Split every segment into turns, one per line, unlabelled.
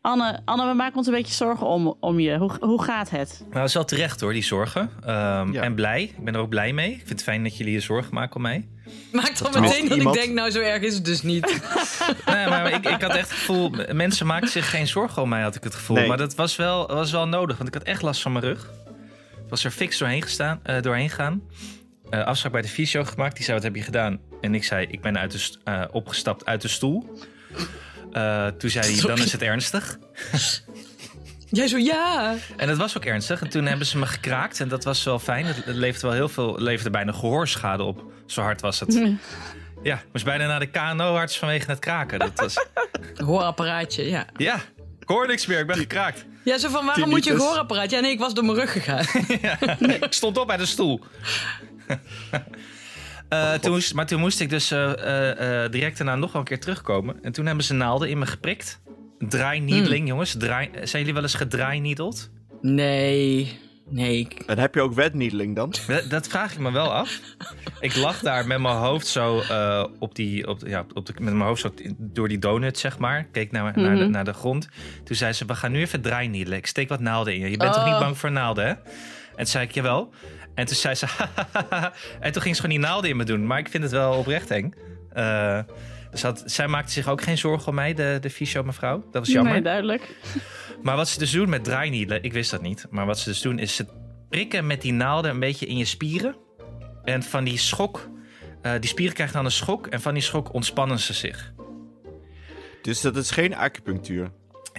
Anne, Anne, we maken ons een beetje zorgen om, om je. Hoe, hoe gaat het?
Nou, dat is wel terecht hoor, die zorgen. Ehm,
Ja.
En blij. Ik ben er ook blij mee. Ik vind het fijn dat jullie je zorgen maken om mij.
Maakt al
er
meteen
nog
dat ik
iemand-
denk, nou zo erg is het dus niet.
nee, Nou maar ik, ik had echt het gevoel, m- mensen maakten zich geen zorgen om mij, had ik het gevoel.
Nee.
Maar dat was wel, was wel nodig, want ik had echt last van mijn rug. Ik was er fix doorheen, gestaan, eh, doorheen gaan. Eh, afspraak bij de fysio gemaakt, die zei, wat heb je gedaan? En ik zei, ik ben uit de st- eh, opgestapt uit de stoel. Eh, toen zei hij, dan is het ernstig.
Jij zo, ja.
En dat was ook ernstig. En toen hebben ze me gekraakt en dat was wel fijn. Het, het leefde wel heel veel, leefde bijna gehoorschade op. Zo hard was het. Ja, moest bijna naar de KNO-arts vanwege het kraken. Dat was,
Hoorapparaatje, ja.
ja, ik hoor niks meer, ik ben gekraakt.
Ja, zo van, waarom moet je een hoorapparaat? Ja, nee, ik was door mijn rug gegaan.
Ik stond op bij de stoel. Eh, toen moest- maar toen moest ik dus eh, eh, eh, direct daarna nog wel een keer terugkomen. En toen hebben ze naalden in me geprikt. Draai-needling, jongens. Draai, zijn jullie wel eens gedraai-needeld?
Nee, nee. ik-
En heb je ook wetniedeling dan?
Dat, dat vraag ik me wel af. Ik lag daar met mijn hoofd zo eh, op die, op, ja, op de, met mijn hoofd zo t- door die donut, zeg maar. Keek naar, naar, de,
Mhm.
naar de grond. Toen zei ze, we gaan nu even draai-needelen. Ik steek wat naalden in je. Je bent toch
Oh.
niet bang voor naalden, hè? En toen zei ik, jawel. En toen zei ze, En toen ging ze gewoon die naalden in me doen. Maar ik vind het wel oprecht eng. Eh, dus had, zij maakte zich ook geen zorgen om mij, de, de fysio mevrouw. Dat was jammer.
Nee, duidelijk.
Maar wat ze dus doen met draaineedelen, ik wist dat niet. Maar wat ze dus doen is ze prikken met die naalden een beetje in je spieren. En van die schok, eh, die spieren krijgen dan een schok. En van die schok ontspannen ze zich.
Dus dat is geen acupunctuur.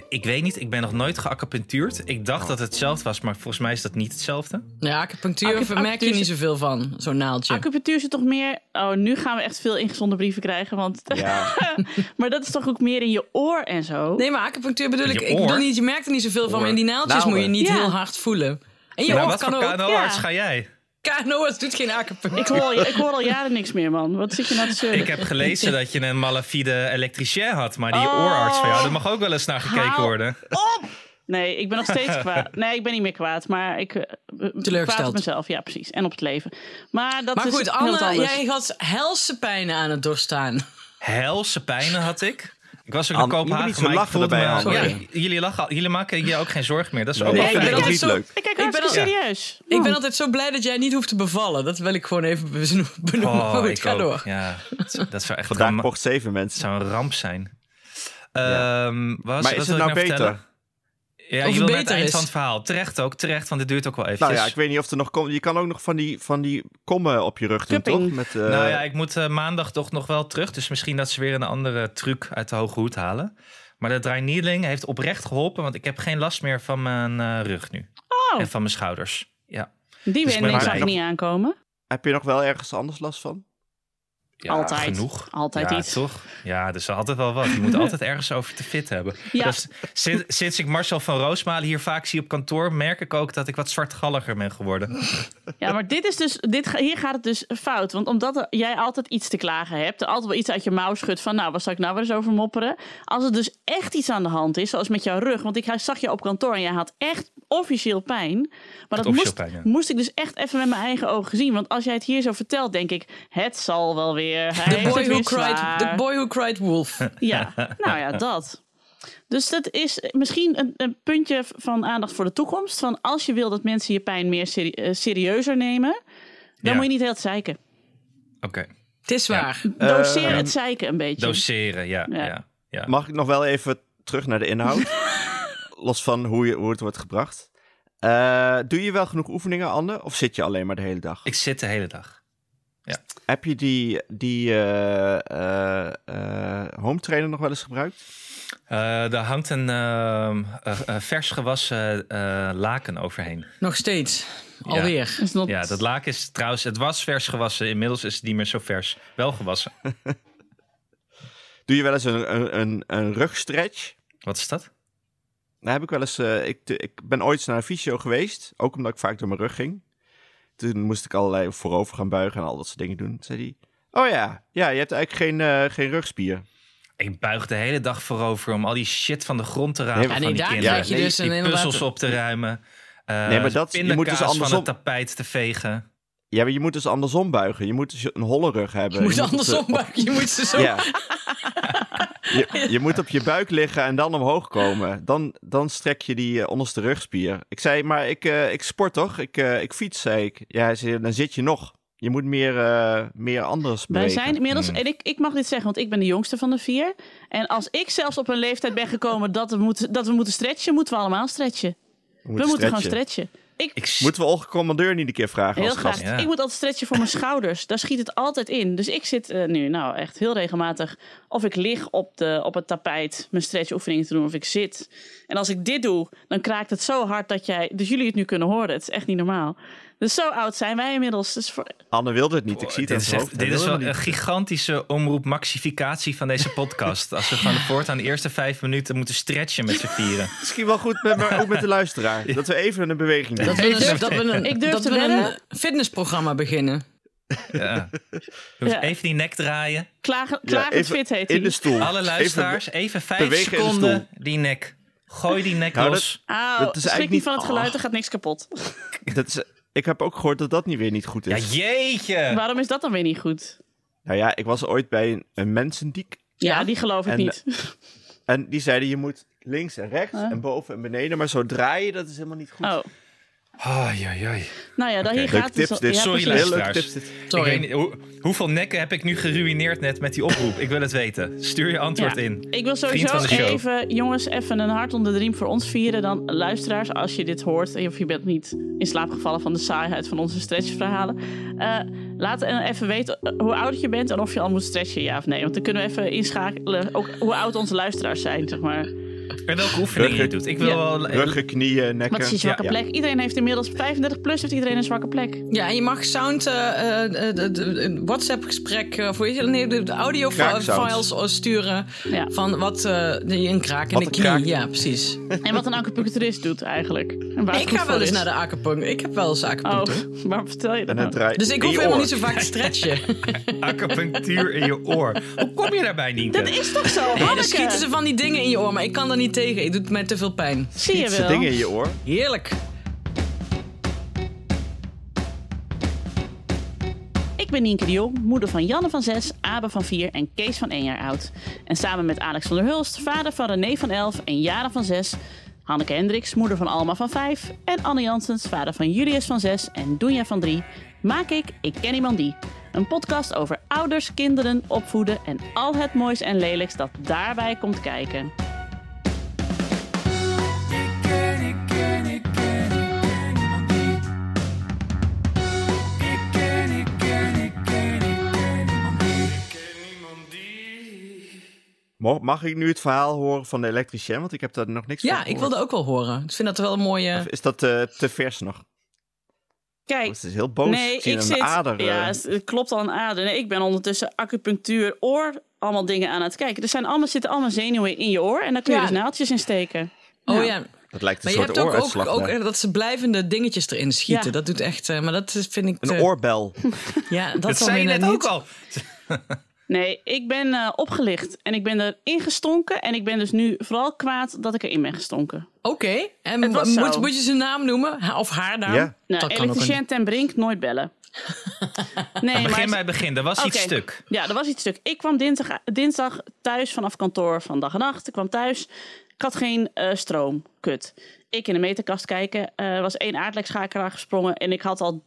Ik weet niet, ik ben nog nooit geacupunctuurd. Ik dacht dat het hetzelfde was, maar volgens mij is dat niet hetzelfde.
Ja, acupunctuur
Acupunctuur-
merk je niet zoveel van, zo'n naaldje.
Acupunctuur is het toch meer. Oh, nu gaan we echt veel ingezonden brieven krijgen. Want,
Ja.
maar dat is toch ook meer in je oor en zo?
Nee, maar acupunctuur bedoel
Je
ik, ik
oor.
bedoel niet, je merkt er niet zoveel van. Maar in die naaldjes
Naalden.
moet je niet
Ja.
heel hard voelen. En je
maar
oor
wat
kan
voor
ook.
KNO-arts
ja.
ga jij?
KNO'ers doet geen acupunctuur.
Ik hoor, ik hoor al jaren niks meer, man. Wat zit je nou te zeuren?
Ik heb gelezen dat je een malafide elektricien had. Maar die
Oh.
oorarts van jou, daar mag ook wel eens naar gekeken
Haal
worden.
Nee, ik ben nog steeds kwaad. Nee, ik ben niet meer kwaad, maar ik... eh, Kwaad
Teleurgesteld.
op mezelf, ja precies. En op het leven. Maar dat
Maar
is
goed,
heel wat
Anne,
anders.
jij had helse pijnen aan het doorstaan.
helse pijnen had ik. Ik was ook
Anne,
in Kopenhagen,
je moet niet zo
maar ik
lachen
voelde
erbij,
me-
Anne.
ja,
Sorry.
jullie, lachen, al- jullie maken je ook geen zorgen meer. Dat is
Nee,
ook wel
ik
fijn.
vind dat
altijd
niet
zo-
leuk.
Ik kijk
ben
hartstikke
al-
serieus.
Ik ben altijd zo blij dat jij niet hoeft te bevallen. Dat wil ik gewoon even beno- benoemen.
Oh,
Maar goed,
ik
ga
ook.
door.
Ja, dat zou echt
Vandaag
drama-
mocht zeven
dat
mensen.
zou een ramp zijn.
Ja.
Ehm, wat was-
Maar
wat
is
wil
het
ik
nou beter?
vertellen? Ja,
het
je wil naar het
beter
eind
is.
van het verhaal. Terecht ook, terecht, want dit duurt ook wel even.
Nou ja, ik weet niet of er nog komt. Je kan ook nog van die, van die kommen op je rug doen,
Cupping.
toch? Met, eh,
Nou ja, ik moet eh, maandag toch nog wel terug. Dus misschien dat ze weer een andere truc uit de hoge hoed halen. Maar dat dry needling heeft oprecht geholpen, want ik heb geen last meer van mijn eh, rug nu.
Oh.
En van mijn schouders. Ja.
Die
Dus
wending
maar-
zag ik
maar-
niet aankomen.
Heb je nog wel ergens anders last van?
Ja,
Altijd.
Genoeg.
Altijd
ja,
iets.
toch? Ja, er is altijd wel wat. Je moet altijd ergens over te fit hebben.
Ja.
Dus sinds, sinds ik Marcel van Roosmalen hier vaak zie op kantoor, merk ik ook dat ik wat zwartgalliger ben geworden.
Ja, maar dit is dus, dit, ga- hier gaat het dus fout. Want omdat er- jij altijd iets te klagen hebt, er altijd wel iets uit je mouw schudt van, nou, wat zou ik nou weer eens over mopperen? Als er dus echt iets aan de hand is, zoals met jouw rug, want ik zag je op kantoor en jij had echt officieel pijn. Maar dat
officieel
moest,
pijn, ja.
moest ik dus echt even met mijn eigen ogen zien. Want als jij het hier zo vertelt, denk ik, het zal wel weer. Hij
The
heeft
boy,
het weer
who cried,
zwaar.
the boy who cried wolf.
Ja, nou ja, dat. Dus dat is misschien een, een puntje van aandacht voor de toekomst. Van als je wil dat mensen je pijn meer seri- eh, serieuzer nemen, dan
Ja.
moet je niet heel het zeiken.
Oké.
Het is waar.
Doseer
Eh,
het zeiken een beetje.
Doseren, ja. ja.
Ja.
ja,
Mag ik nog wel even terug naar de inhoud? Los van hoe, je, hoe het wordt gebracht. Eh, doe je wel genoeg oefeningen, Anne? Of zit je alleen maar de hele dag?
Ik zit de hele dag.
Heb je die, die eh, eh, eh, home trainer nog wel eens gebruikt?
Eh daar hangt een ehm, eh, eh, vers gewassen eh, laken overheen.
Nog steeds. Alweer.
Is dat-
Ja, dat laken is trouwens, het was vers gewassen. Inmiddels is het niet meer zo vers. Wel gewassen.
Doe je wel eens een, een, een, een rugstretch?
Wat is dat?
Nou heb ik wel eens. eh, ik, ik ben ooit eens naar een fysio geweest. Ook omdat ik vaak door mijn rug ging. Toen moest ik allerlei voorover gaan buigen en al dat soort dingen doen. Toen zei hij. Oh ja, ja, je hebt eigenlijk geen, eh, geen rugspier.
Ik buig de hele dag voorover om al die shit van de grond te rapen
Nee,
van
maar-
die
Ja, nee, daar
kinderen.
krijg je
Nee,
dus een
die
inderdaad-
puzzels op te ruimen. eh
Nee, maar dat- je moet dus
pindakaas van
andersom-
het tapijt te vegen.
Ja, maar je moet dus andersom buigen. Je moet dus een holle rug hebben.
Je moet
het, eh,
andersom buigen. Je moet ze zo.
Ja. Je, je moet op je buik liggen en dan omhoog komen. Dan, dan strek je die eh, onderste rugspier. Ik zei, maar ik, eh, ik sport toch? Ik, eh, ik fiets, zei ik. Ja, hij zei, dan zit je nog. Je moet meer, eh, meer anders
Wij
bewegen.
zijn inmiddels,
Mm.
en ik, ik mag dit zeggen, want ik ben de jongste van de vier. En als ik zelfs op een leeftijd ben gekomen dat we moeten, dat we moeten stretchen, moeten we allemaal stretchen.
We
we moeten
stretchen.
gaan stretchen. Ik,
Ik s-
Moeten we Olga Commandeur niet een keer vragen
heel
als
graag.
gast?
Ja.
Ik moet altijd stretchen voor mijn schouders. Daar schiet het altijd in. Dus ik zit eh, nu, nou echt heel regelmatig, of ik lig op, de, op het tapijt mijn stretchoefeningen te doen, of ik zit. En als ik dit doe, dan kraakt het zo hard dat jij, dus jullie het nu kunnen horen. Het is echt niet normaal. Dus zo oud zijn wij inmiddels. Dus voor,
Anne wilde het niet. Ik zie het
dit
aan
is,
zijn
echt-
hoofd. Hij
dit is
wilde
wel
het
een
niet.
gigantische omroep-maxificatie van deze podcast. Als we gewoon voortaan de eerste vijf minuten moeten stretchen met z'n vieren.
Misschien wel goed, met, maar ook met de luisteraar. Dat we even een beweging doen.
Dat we
durf-
een, dat we een,
ik durf
dat
te
we een
wedden.
fitnessprogramma beginnen.
Ja. Doe eens
Ja.
Even die nek draaien.
klagen,
Ja,
klagend
even
fit heet
In de
hij.
stoel.
Alle luisteraars, even, vijf
bewegen in de
seconden die nek. Gooi die nek
Nou,
los.
Auw,
Dat is
Oh, schrik
eigenlijk
niet
niet-
van het geluid,
Oh.
er gaat niks kapot.
Even- dat is, ik heb ook gehoord dat dat niet weer niet goed
Ja,
is.
jeetje.
Waarom is dat dan weer niet goed?
Nou ja, ik was ooit bij een, een mensendiek.
Ja, die geloof ik
En,
niet.
En die zeiden, je moet links en rechts en boven en beneden. Maar zo draaien, dat is helemaal niet goed.
Oh.
Ai, ai, ai.
Nou ja, dan hier
eh, Leuke
gaat
tips
het.
dit.
Ja,
Sorry,
precies.
luister.
Heel leuk
luisteraars.
tips dit.
Sorry.
Ik weet niet, hoe, hoeveel nekken heb ik nu geruineerd net met die oproep? Ik wil het weten. Stuur je antwoord
Ja.
in.
Ik wil
Vriend van de
sowieso
show.
even, jongens, even een hart onder de riem voor ons vieren. Dan luisteraars, als je dit hoort of je bent niet in slaap gevallen van de saaiheid van onze stretchverhalen. eh laat eh, even weten eh, hoe oud je bent en of je al moet stretchen, ja of nee. Want dan kunnen we even inschakelen ook hoe oud onze luisteraars zijn, zeg maar.
En welke oefeningen je
Ruggen-
doet. Ik wil
Ja.
wel...
Ruggen, knieën, nekken.
Wat is je zwakke
Ja.
plek? Iedereen heeft inmiddels 35 plus, heeft iedereen een zwakke plek.
Ja, en je mag sound, eh, eh, eh, eh, een WhatsApp-gesprek, eh, voor je, nee, de de
Kraaksound.
audio-files eh, sturen
Ja.
van wat eh, die een kraak in
Wat
de
een
knie.
kraak-
Ja, precies.
En wat een acupuncturist doet eigenlijk. En waar het
ik
goed
ga
voor
wel eens
is.
naar de acupunctuur. Ik heb wel eens acupunctuur.
Oh, waarom vertel je dat
En
nou?
het draait
Dus ik
in
hoef
je
helemaal
oor.
niet zo vaak te stretchen.
acupunctuur in je oor. Hoe kom je daarbij, Nienke?
Dat is toch zo,
Ja,
Hanneke?
dan schieten ze van die dingen in je oor, maar ik kan daar niet tegen. Het doet mij te veel pijn.
Zie je
Iets de
wel.
dingen in je oor.
Heerlijk.
Ik ben Nienke de Jong, moeder van Janne van 6, Abe van 4 en Kees van 1 jaar oud. En samen met Alex van der Hulst, vader van René van 11 en Jaren van 6... Hanneke Hendricks, moeder van Alma van 5... en Anne Jansens, vader van Julius van 6 en Doenja van 3... maak ik Ik Ken Iemand Die. Een podcast over ouders, kinderen, opvoeden... en al het moois en lelijks dat daarbij komt kijken.
Mo- Mag ik nu het verhaal horen van de elektricien? Want ik heb daar nog niks van
Ja, ik wilde ook wel horen. Ik vind dat wel een
Of
mooie...
is dat eh, te vers nog?
Kijk,
Oh, het is heel boos.
Nee,
Ik zie
ik
een
zit.
ader. eh.
ja, het- het klopt al een ader. Nee, ik ben ondertussen acupunctuur, oor, allemaal dingen aan het kijken. Er zijn allemaal, zitten allemaal zenuwen in je oor en daar kun je
Ja.
dus naaldjes in steken.
Oh ja,
dat lijkt een
maar
soort
je hebt ook, ook,
ooruitslag.
ook
daar.
eh, dat ze blijvende dingetjes erin schieten.
Ja.
Dat doet echt... eh, maar dat is- vind ik...
Een
te-
oorbel.
Ja, dat,
Dat
zal
zei je
weer
net
niet.
ook al.
Nee, ik ben eh, opgelicht en ik ben erin gestonken. En ik ben dus nu vooral kwaad dat ik erin ben gestonken.
Oké, en
Het was
moet,
zo.
moet je zijn naam noemen? Ha- Of haar naam?
Ja.
Nou,
kan ook
elektricien ten Brink, nooit bellen. Nee,
Begin
maar
bij het begin. Er was iets
Oké.
stuk.
Ja, er was iets stuk. Ik kwam dinsdag, dinsdag thuis vanaf kantoor van dag en nacht. Ik kwam thuis. Ik had geen eh, stroom. Kut. Ik in de meterkast kijken. Eh, Er was één aardlijkschakelaar gesprongen. En ik had al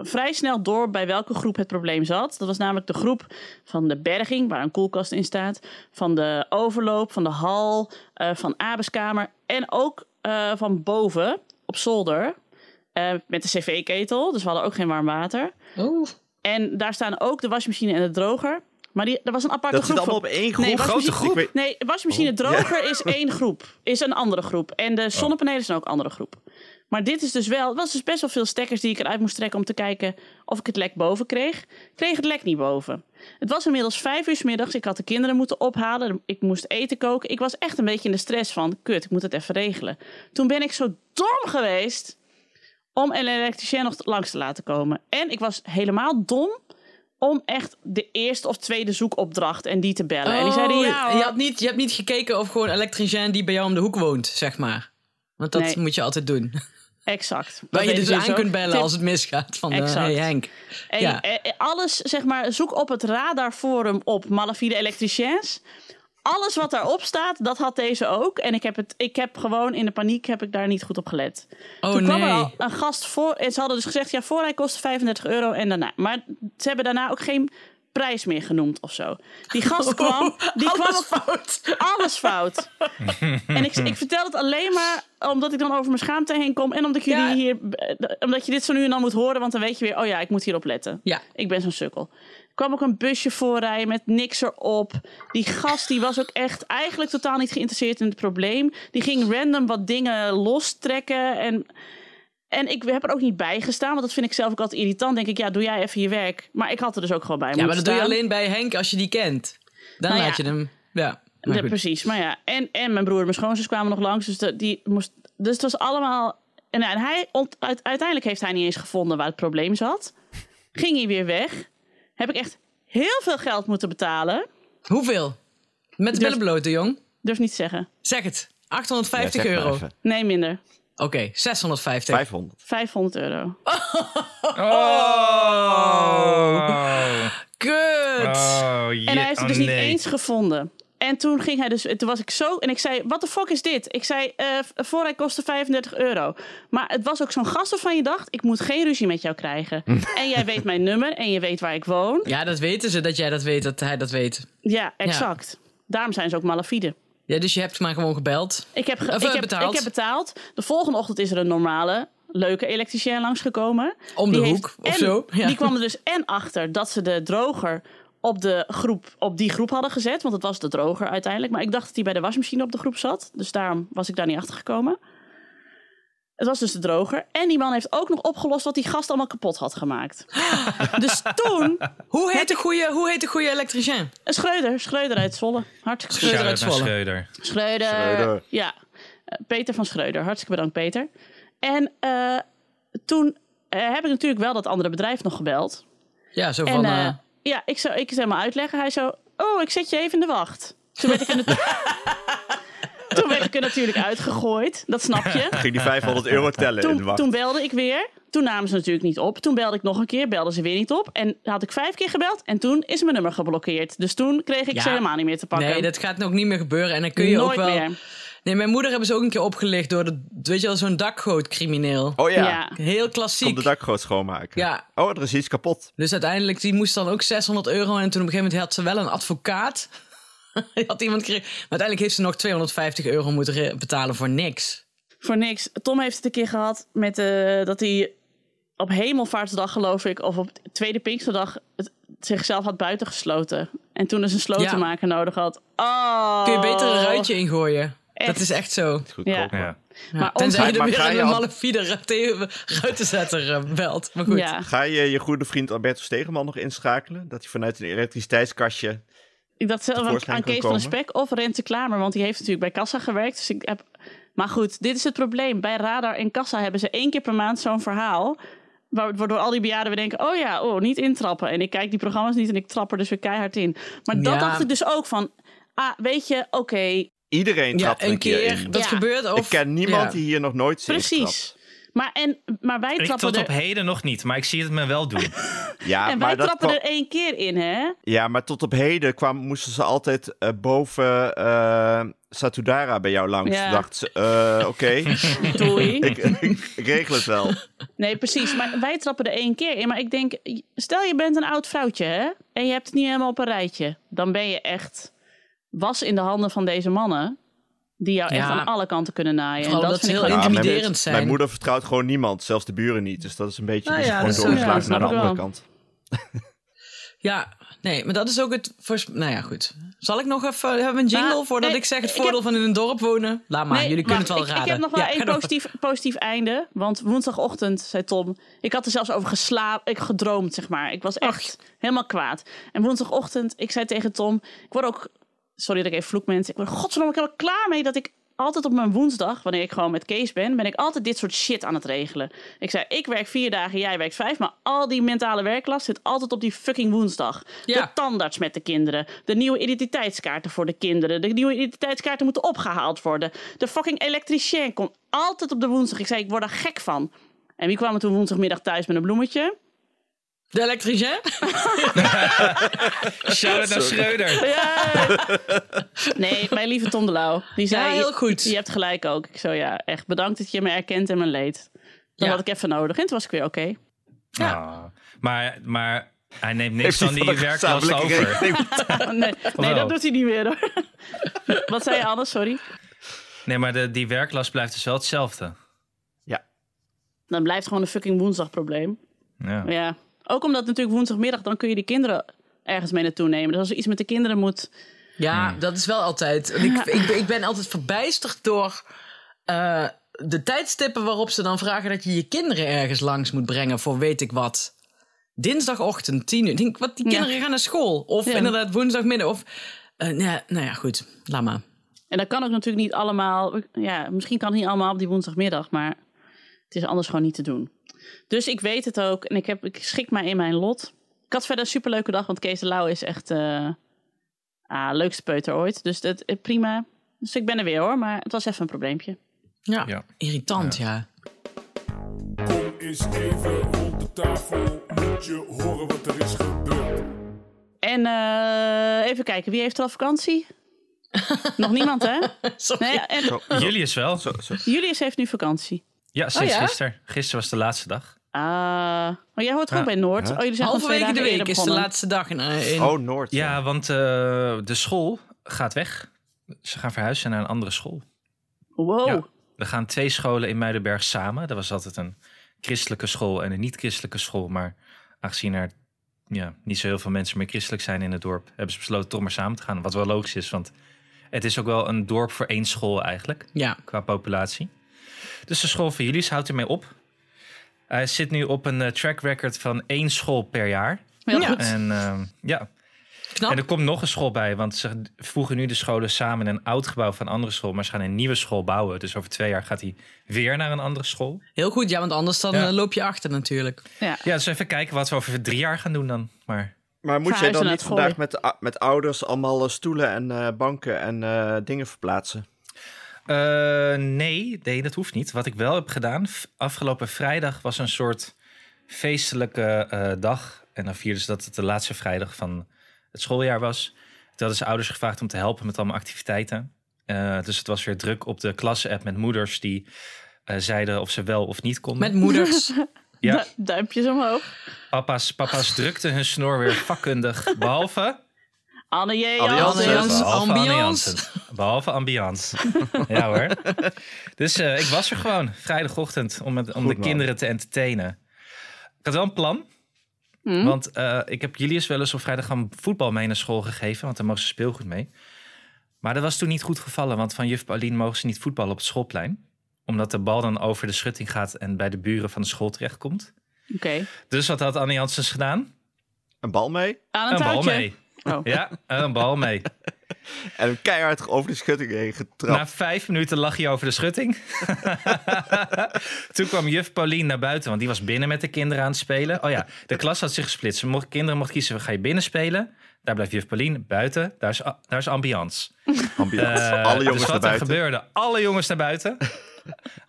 vrij snel door bij welke groep het probleem zat. Dat was namelijk de groep van de berging, waar een koelkast in staat. Van de overloop, van de hal, eh, van Abeskamer. En ook eh, van boven, op zolder. eh, met de cv-ketel. Dus we hadden ook geen warm water.
Oeh.
En daar staan ook de wasmachine en de droger. Maar die, er was een aparte
Dat zit
groep.
allemaal op
van-
één groep.
Nee,
grote
wasmachine-
groep.
Ik weet- Oh.
Nee, wasmachine en droger is één groep. Is een andere groep. En de zonnepanelen zijn ook een andere groep. Maar dit is dus wel... Het was dus best wel veel stekkers die ik eruit moest trekken... om te kijken of ik het lek boven kreeg. Ik kreeg het lek niet boven. Het was inmiddels vijf uur 's middags. Ik had de kinderen moeten ophalen. Ik moest eten koken. Ik was echt een beetje in de stress van... Kut, ik moet het even regelen. Toen ben ik zo dom geweest om een elektricien nog langs te laten komen. En ik was helemaal dom om echt de eerste of tweede zoekopdracht en die te bellen. en die zeiden, ja,
Oh, je,
hoor.
had niet, je hebt niet gekeken of gewoon een elektricien die bij jou om de hoek woont, zeg maar. Want dat
Nee.
moet je altijd doen.
exact. Dat
Waar je
weten
dus
ze
aan
ook.
kunt bellen
Tip.
als het misgaat. Van, eh,
Exact.
hey Henk.
En,
ja.
eh, eh, alles, zeg maar, zoek op het radarforum op malafide elektriciens. alles wat daarop staat, dat had deze ook. En ik heb, het, ik heb gewoon in de paniek heb ik daar niet goed op gelet.
Oh
Toen kwam
nee.
er al een gast voor. En ze hadden dus gezegd, ja, voor hij kostte 35 euro en daarna. Maar ze hebben daarna ook geen prijs meer genoemd of zo. Die gast kwam, die kwam
alles
ook
fout.
alles fout. en ik, ik vertel het alleen maar omdat ik dan over mijn schaamte heen kom. En omdat, jullie
Ja.
hier, eh, omdat je dit zo nu en dan moet horen. Want dan weet je weer, oh ja, ik moet hierop letten.
Ja.
Ik ben zo'n sukkel. Er kwam ook een busje voorrijden met niks erop. Die gast die was ook echt eigenlijk totaal niet geïnteresseerd in het probleem. Die ging random wat dingen lostrekken. En, en ik heb er ook niet bij gestaan. Want dat vind ik zelf ook altijd irritant. Denk ik, ja, doe jij even je werk. Maar ik had er dus ook gewoon bij
ja,
moeten
maar dat doe je
staan.
alleen bij Henk als je die kent. Dan
Nou ja.
laat je hem. Ja. Maar
Ja,
goed.
precies, maar ja. En, en mijn broer en mijn schoonzus kwamen nog langs. Dus, de- die moest, dus het was allemaal... En, en hij ont- uit- uiteindelijk heeft hij niet eens gevonden waar het probleem zat. Ging hij weer weg. Heb ik echt heel veel geld moeten betalen.
Hoeveel? Met de
Durf-
billen bloten, jong.
Durf niet te zeggen.
Zeg het.
Ja,
850
zeg maar
euro. Oké,
even.
Nee, minder.
650.
500.
500 euro.
Oh.
Kut.
Oh, je-
En hij heeft het
oh,
dus niet
nee.
eens gevonden. En toen ging hij dus, toen was ik zo, en ik zei, wat de fuck is dit? Ik zei, eh vooruit kostte 35 euro. Maar het was ook zo'n gast waarvan je dacht, ik moet geen ruzie met jou krijgen. en jij weet mijn nummer en je weet waar ik woon.
Ja, dat weten ze, dat jij dat weet, dat hij dat weet.
Ja, exact. Daarom zijn ze ook malafide.
Ja, dus je hebt maar gewoon gebeld.
Ik heb, ge-
Of,
ik,
eh,
heb,
betaald.
ik heb betaald. De volgende ochtend is er een normale, leuke elektricien langsgekomen.
Om de
Die
hoek
heeft
of
en-
zo. Ja.
Die kwam er dus en achter dat ze de droger op, de groep, op die groep hadden gezet. Want het was de droger uiteindelijk. Maar ik dacht dat die bij de wasmachine op de groep zat. Dus daarom was ik daar niet achter gekomen. Het was dus de droger. En die man heeft ook nog opgelost wat die gast allemaal kapot had gemaakt. dus toen...
Hoe heet de goede, hoe heet de goede elektricien?
Een Schreuder. Schreuder uit Zwolle. Hartstikke goed.
Schreuder
Shout-out
uit
naar
Zwolle.
Schreuder.
Schreuder.
Schreuder.
Ja, Eh, Peter van Schreuder. Hartstikke bedankt, Peter. En eh, toen eh, heb ik natuurlijk wel dat andere bedrijf nog gebeld.
Ja, zo
en
van.
eh,
eh,
ja, ik zou ik zou hem uitleggen. Hij zo, oh, ik zet je even in de wacht. Toen werd ik, er natu- toen werd ik er natuurlijk uitgegooid. Dat snap je
Ging die 500 euro tellen in de
toen,
wacht.
toen belde ik weer. Toen namen ze natuurlijk niet op. Toen belde ik nog een keer, belden ze weer niet op. En had ik vijf keer gebeld en toen is mijn nummer geblokkeerd. Dus toen kreeg ik
Ja.
ze helemaal niet meer te pakken.
nee, dat gaat ook niet meer gebeuren. En dan kun je
Nooit
ook wel.
meer.
Nee, mijn moeder hebben ze ook een keer opgelicht door de, weet je wel, zo'n dakgootcrimineel.
Oh ja,
ja.
Heel klassiek.
kom de dakgoot schoonmaken.
Ja.
Oh, er is iets kapot.
Dus uiteindelijk, die moest dan ook 600 euro. En toen op een gegeven moment had ze wel een advocaat. had iemand gekregen. Maar uiteindelijk heeft ze nog 250 euro moeten re- betalen voor niks.
Voor niks. Tom heeft het een keer gehad met eh, dat hij op hemelvaartsdag, geloof ik, of op tweede Pinksterdag het- zichzelf had buitengesloten. En toen dus een slotenmaker nodig had. Oh.
Kun je beter een ruitje ingooien? Dat
Echt.
is echt zo.
Goedkoop.
Ja.
Ja.
Ja.
Maar
Tenzij
ons-
je er
Maar
weer
ga je
een
al-
malafide rate- ruitenzetter eh, belt. Maar goed.
Ja,
Ga je je goede vriend Alberto Stegeman nog inschakelen? Dat hij vanuit een elektriciteitskastje...
ik dacht zelf aan,
tevoorschijn
aan
kan
Kees van der
komen.
Spek of Rente Klamer, want die heeft natuurlijk bij Kassa gewerkt. Dus ik heb... Maar goed, dit is het probleem. Bij Radar en Kassa hebben ze één keer per maand zo'n verhaal. wa- Waardoor al die bejaarden weer denken, oh ja, oh, niet intrappen. En ik kijk die programma's niet en ik trap er dus weer keihard in. Maar dat
Ja.
dacht ik dus ook van, ah, weet je, oké,
Iedereen
Ja,
trapt er
een keer.
in.
Dat
Ja.
gebeurt. Of,
Ik ken niemand
Ja.
die hier nog nooit zit.
Precies. Maar, en, maar wij
Ik
trappen
tot
er,
op heden nog niet, maar ik zie het me wel doen.
Ja,
en wij
maar dat
trappen
kwam-
er één keer in, hè?
Ja, maar tot op heden kwam, moesten ze altijd eh, boven eh Satudara bij jou langs.
Ja.
Dacht ze, eh, oké,
Doei.
ik, ik regel het wel.
Nee, precies. Maar wij trappen er één keer in. Maar ik denk, stel je bent een oud vrouwtje, hè? En je hebt het niet helemaal op een rijtje. Dan ben je echt was in de handen van deze mannen. Die jou echt
Ja.
aan alle kanten kunnen naaien. En
Vooral
dat
dat
vind
ze
ik
heel
gewoon-
mijn-
Intimiderend
mijn,
zijn.
moeder vertrouwt gewoon niemand, zelfs de buren niet. Dus dat is een beetje
Nou
die is
ja,
gewoon
dat is-
doorgeslagen
ja,
naar de
snap ik
andere
wel.
kant.
Ja, nee, maar dat is ook het. Vers... Nou ja, goed. Zal ik nog even hebben we een jingle
Maar,
voordat
nee,
ik zeg het
ik
voordeel
heb-
van in een dorp wonen? Laat maar, jullie kunnen het
wacht,
wel
ik,
raden.
Ik heb nog wel
Ja,
één
ga door.
positief, positief einde. Want woensdagochtend, zei Tom, ik had er zelfs over geslapen. Ik gedroomd, zeg maar. Ik was echt helemaal kwaad. En woensdagochtend, ik zei tegen Tom, ik word ook... Sorry dat ik even vloek, mensen. Ik word godverdomme ik ben er klaar mee dat ik altijd op mijn woensdag, wanneer ik gewoon met Kees ben, ben ik altijd dit soort shit aan het regelen. Ik zei, ik werk vier dagen, jij werkt vijf, maar al die mentale werklast zit altijd op die fucking woensdag. De
Ja.
tandarts met de kinderen, de nieuwe identiteitskaarten voor de kinderen, de nieuwe identiteitskaarten moeten opgehaald worden. De fucking elektricien komt altijd op de woensdag. Ik zei, ik word er gek van. En wie kwam er toen woensdagmiddag thuis met een bloemetje?
De elektricien?
Shout-out naar Schreuder.
Nee, mijn lieve Tom de Lauw. Die zei,
Ja, heel goed.
Je, je hebt gelijk ook. Ik zo, ja, echt bedankt dat je me erkent en me leed. Dat
Ja.
had ik even nodig. En toen was ik weer oké.
Ah. Maar, maar hij neemt niks
Heeft
van
hij van
die
een
werklast
gezamenlijke
over.
rekening?
Oh, Nee, nee,
wel?
dat doet hij niet meer hoor. Wat zei je anders? Sorry.
Nee, maar de, die werklast blijft dus wel hetzelfde.
Dan blijft gewoon een fucking woensdagprobleem.
Ja.
Ja. Ook omdat natuurlijk woensdagmiddag, dan kun je die kinderen ergens mee naartoe nemen. Dus als er iets met de kinderen moet...
Ja,
Hmm.
dat is wel altijd. Ik, ik, ben- ik ben altijd verbijsterd door eh, de tijdstippen waarop ze dan vragen dat je je kinderen ergens langs moet brengen voor weet ik wat. Dinsdagochtend, tien uur. Ik Denk, wat,
Ja.
die kinderen gaan naar school. Of
Ja.
inderdaad woensdagmiddag. Of, eh, nee, nou ja, goed. Laat maar.
En dat kan ook natuurlijk niet allemaal... Ja, misschien kan het niet allemaal op die woensdagmiddag, maar... Het is anders gewoon niet te doen. Dus ik weet het ook. En ik, heb, ik schik mij in mijn lot. Ik had verder een superleuke dag, want Kees de Lauw is echt... eh ah, leukste peuter ooit. Dus dat, eh, prima. Dus ik ben er weer hoor, maar het was even een probleempje.
Ja,
Ja.
irritant, ja.
Kom eens even rond de tafel, moet je horen wat er is gebeurd.
En eh, even kijken, wie heeft er al vakantie? Nog niemand, hè?
Sorry.
Nee, en
Zo, zo,
Julius wel.
zo, zo.
Julius heeft nu vakantie.
Ja, sinds
ja?
gisteren. Gisteren was de laatste dag.
Ah, maar jij hoort gewoon
Ja.
bij Noord.
Ja.
Oh, jullie zijn gewoon twee
Halverwege de
dagen eerder
week is de
begonnen.
laatste dag. In, eh, in-
Oh, Noord.
Ja, want eh, de school gaat weg. Ze gaan verhuizen naar een andere school.
Wow.
Ja. Er gaan twee scholen in Muidenberg samen. Er was altijd een christelijke school en een niet-christelijke school. Maar aangezien er ja, niet zo heel veel mensen meer christelijk zijn in het dorp, hebben ze besloten toch maar samen te gaan. Wat wel logisch is, want het is ook wel een dorp voor één school eigenlijk,
Ja.
qua populatie. Dus de school van Julius houdt ermee op. Hij zit nu op een eh, track record van één school per jaar.
Heel
Ja.
goed.
En ehm, ja,
Knap.
en er komt nog een school bij, want ze voegen nu de scholen samen in een oud gebouw van een andere school, maar ze gaan een nieuwe school bouwen. Dus over twee jaar gaat hij weer naar een andere school.
Heel goed, ja, want anders dan
Ja.
eh, loop je achter natuurlijk.
Ja, dus even kijken wat we over drie jaar gaan doen dan. Maar
Maar moet jij
Verhuizen
dan
naar
niet
het
vandaag met, a- met ouders allemaal eh, stoelen en eh, banken en eh, dingen verplaatsen?
eh, nee, nee, dat hoeft niet. Wat ik wel heb gedaan, v- afgelopen vrijdag was een soort feestelijke eh, dag. En dan vierden ze dat het de laatste vrijdag van het schooljaar was. Toen hadden ze ouders gevraagd om te helpen met allemaal activiteiten. Eh, dus het was weer druk op de klasse-app met moeders die eh, zeiden of ze wel of niet konden.
Met moeders.
Ja.
Du- duimpjes omhoog.
Papa's, papa's drukten hun snor weer vakkundig. Behalve.
Anne J.
Anne
Jansen.
Jansen.
Jansen.
Behalve
Ambiance.
Jansen. Behalve ambiance. ja hoor. Dus eh, ik was er gewoon vrijdagochtend om, het, om
Goed,
de
man.
kinderen te entertainen. Ik had wel een plan.
Hm?
Want eh, ik heb Julius wel eens op vrijdag gaan voetbal mee naar school gegeven. Want daar mogen ze speelgoed mee. Maar dat was toen niet goed gevallen. Want van juf Pauline mogen ze niet voetballen op het schoolplein. Omdat de bal dan over de schutting gaat en bij de buren van de school terechtkomt.
Oké.
Dus wat had Annie Janssens gedaan?
Een bal mee
Aan
Een
een,
bal
touwtje.
mee.
Oh.
Ja, een bal mee.
en hem keihard over de schutting heen getrapt.
Na vijf minuten lag hij over de schutting. Toen kwam juf Pauline naar buiten, want die was binnen met de kinderen aan het spelen. Oh ja, de klas had zich gesplitst. Ze mocht- kinderen mochten kiezen, ga je binnen spelen? Daar blijft juf Pauline, buiten, daar is, a- daar is ambiance.
Ambiance.
Eh,
Alle jongens
dus
naar
wat er
buiten.
gebeurde, alle jongens naar buiten.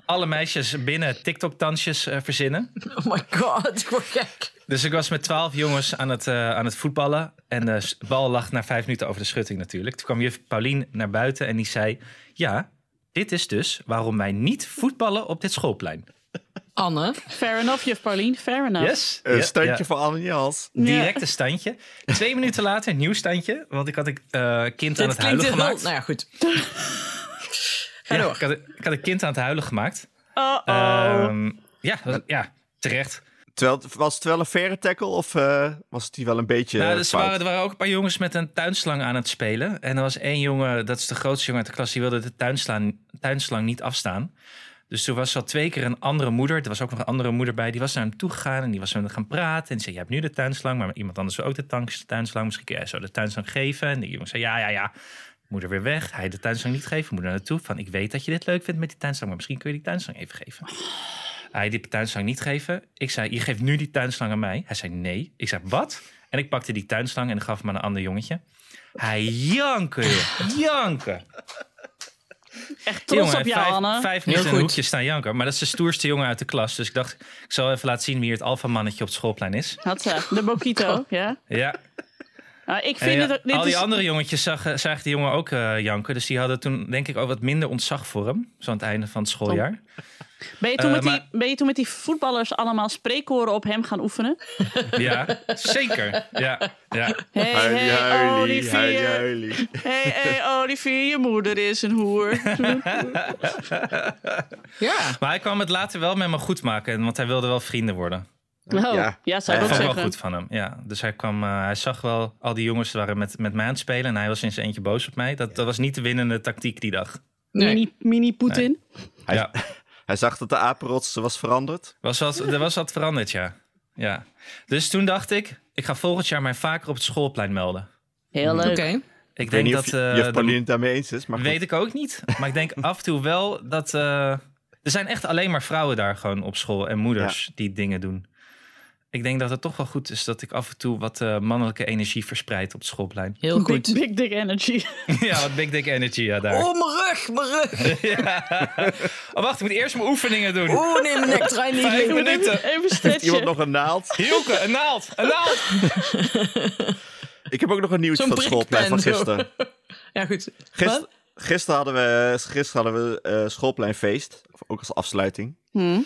Alle meisjes binnen TikTok-dansjes eh, verzinnen.
Oh my god, ik word gek.
Dus ik was met twaalf jongens aan het, eh, aan het voetballen. En de s- bal lag na vijf minuten over de schutting natuurlijk. Toen kwam juf Paulien naar buiten en die zei... Ja, dit is dus waarom wij niet voetballen op dit schoolplein.
Anne.
Fair enough, juf Pauline. Fair enough.
Yes?
Een
Ja,
standje
ja.
voor Anne Jans.
Direct een standje. Twee minuten later een nieuw standje. Want ik had een eh, kind aan
Dit
het huilen
klinkt heel-
gemaakt.
Nou ja, goed.
Ja, ik, had, een- ik had een kind aan het huilen gemaakt.
Oh, oh.
Ehm, ja, dat was- ja, terecht.
Terwijl, het- was het wel een verre tackle of eh, was die wel een beetje
Nou,
eh,
dus er,
fout?
waren, er waren ook een paar jongens met een tuinslang aan het spelen. En er was één jongen, dat is de grootste jongen uit de klas, die wilde de tuinslang, tuinslang niet afstaan. Dus toen was al twee keer een andere moeder, er was ook nog een andere moeder bij, die was naar hem toe gegaan en die was met hem gaan praten. En die zei, je hebt nu de tuinslang, maar iemand anders wil ook de tanks- tuinslang. Misschien kun jij zo de tuinslang geven. En die jongen zei, ja, ja, ja. Moeder weer weg, hij de tuinslang niet geven, moeder naartoe. Van, ik weet dat je dit leuk vindt met die tuinslang, maar misschien kun je die tuinslang even geven. Hij die tuinslang niet geven. Ik zei, je geeft nu die tuinslang aan mij. Hij zei, nee. Ik zei, wat? En ik pakte die tuinslang en gaf hem aan een ander jongetje. Hij janken, joh. janken.
Echt trots
jongen,
op jou,
vijf,
Anne.
Vijf minuten
Heel
in een
goed.
hoekje staan janken. Maar dat is de stoerste jongen uit de klas. Dus ik dacht, ik zal even laten zien wie hier het alfamannetje op het schoolplein is.
Had ze. De Bokito, ja.
Ja.
Nou, ik
En
vind
ja,
het... Dit
al die
is,
andere jongetjes zagen, zagen die jongen ook eh, janken. Dus die hadden toen denk ik ook wat minder ontzag voor hem. Zo aan het einde van het schooljaar.
ben, je toen
eh,
met die,
maar-
ben je toen met die voetballers allemaal spreekkoren op hem gaan oefenen? Oh.
Ja, zeker. Ja, ja.
Hey,
Huilie,
hey, oh,
huilie, huilie,
Olivier.
huilie.
Hey, hey, Olivier, je moeder is een hoer.
Ja.
Maar hij kwam het later wel met me goed maken. Want hij wilde wel vrienden worden.
Oh, ja,
Ja.
zou ik
Dat
ook
vond ik wel
zeggen.
goed van hem. Ja. Dus hij, kwam, eh, hij zag wel, al die jongens waren met, met mij aan het spelen. En hij was in zijn eentje boos op mij. Dat, dat was niet de winnende tactiek die dag.
Nee.
Mini, mini Poetin.
Hij-
Ja.
Hij zag dat de apenrots was veranderd.
Was wat, er was wat veranderd, ja. ja. Dus toen dacht ik, ik ga volgend jaar mij vaker op het schoolplein melden.
Heel leuk.
Oké.
Ik
Ik weet
denk
niet
dat.
of
eh,
je- juf
de-
Pauline het daarmee eens is, maar goed.
weet ik ook niet. Maar ik denk af en toe wel dat. eh, er zijn echt alleen maar vrouwen daar gewoon op school en moeders die dingen doen. Ik denk dat het toch wel goed is dat ik af en toe wat eh, mannelijke energie verspreid op het schoolplein.
Heel
Big,
goed.
big dick energy.
ja, wat big dick energy ja, daar.
Oh, mijn rug, mijn rug.
Oh, wacht, ik moet eerst mijn oefeningen doen.
Oh, nee, mijn nek draait niet
Vijf
mee.
minuten.
Even
Iemand
stretchen.
nog een naald?
Hielke, een naald, een naald.
Ik heb ook nog een nieuwtje
Zo'n
van schoolplein van
prikpen, zo.
gisteren.
Ja, goed.
Gister-
Wat?
gisteren hadden we, gisteren hadden we eh, schoolpleinfeest, of ook als afsluiting.
Hm.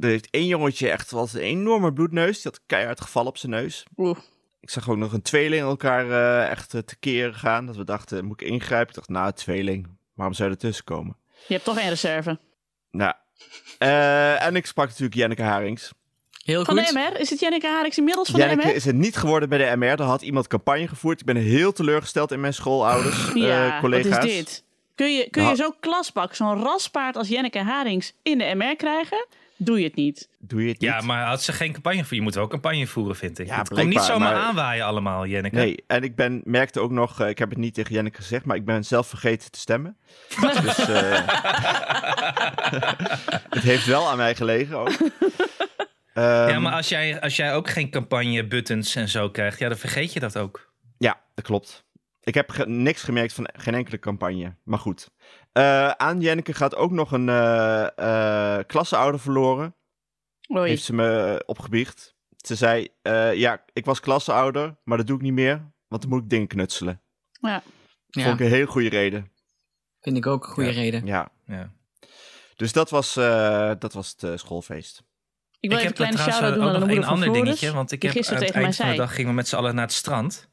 Er heeft één jongetje echt wat een enorme bloedneus. Die had keihard gevallen op zijn neus.
Oeh.
Ik zag ook nog een tweeling elkaar eh, echt te tekeer gaan. Dat we dachten, moet ik ingrijpen? Ik dacht, nou, tweeling, waarom zou je ertussen komen?
Je hebt toch één reserve.
Nou, eh, en ik sprak natuurlijk Janneke Harings.
Heel
Van de
goed.
MR? Is het Janneke Harix inmiddels van de
Janneke
MR?
is het niet geworden bij de MR. Daar had iemand campagne gevoerd. Ik ben heel teleurgesteld in mijn schoolouders, eh,
ja,
collega's.
wat is dit? Kun je, kun je
Nou.
zo'n klasbak, zo'n raspaard als Janneke Harings in de MR krijgen? Doe je het niet.
Doe je het niet?
Ja, maar had ze geen campagne voor? Je moet wel campagne voeren, vind ik.
Ja,
het komt niet
blijkbaar,
zomaar
maar-
aanwaaien allemaal, Jenneke.
Nee, en ik ben, merkte ook nog, eh, ik heb het niet tegen Jenneke gezegd, maar ik ben zelf vergeten te stemmen. dus eh, het heeft wel aan mij gelegen ook. ehm,
ja, maar als jij, als jij ook geen campagne-buttons en zo krijgt, ja, dan vergeet je dat ook.
Ja, dat klopt. Ik heb ge- niks gemerkt van geen enkele campagne. Maar goed. Eh, aan Jenneke gaat ook nog een eh eh klasseouder verloren.
Oei.
Heeft ze me eh, opgebiecht. Ze zei, eh, ja, ik was klasseouder, maar dat doe ik niet meer. Want dan moet ik dingen knutselen.
Ja.
Ja,
Vond ik een heel goede reden.
vind ik ook een goede
Ja.
reden.
Ja.
Ja.
Dus dat was, eh, dat was het eh, schoolfeest.
Ik wil even een kleine
trouwens eh,
shout-out doen
ook
aan de
nog
moeder
één
van
ander
Floris,
dingetje, want ik
die
heb aan
gisteren
het
tegen mij
eind van de
zei.
dag gingen we met z'n allen naar het strand.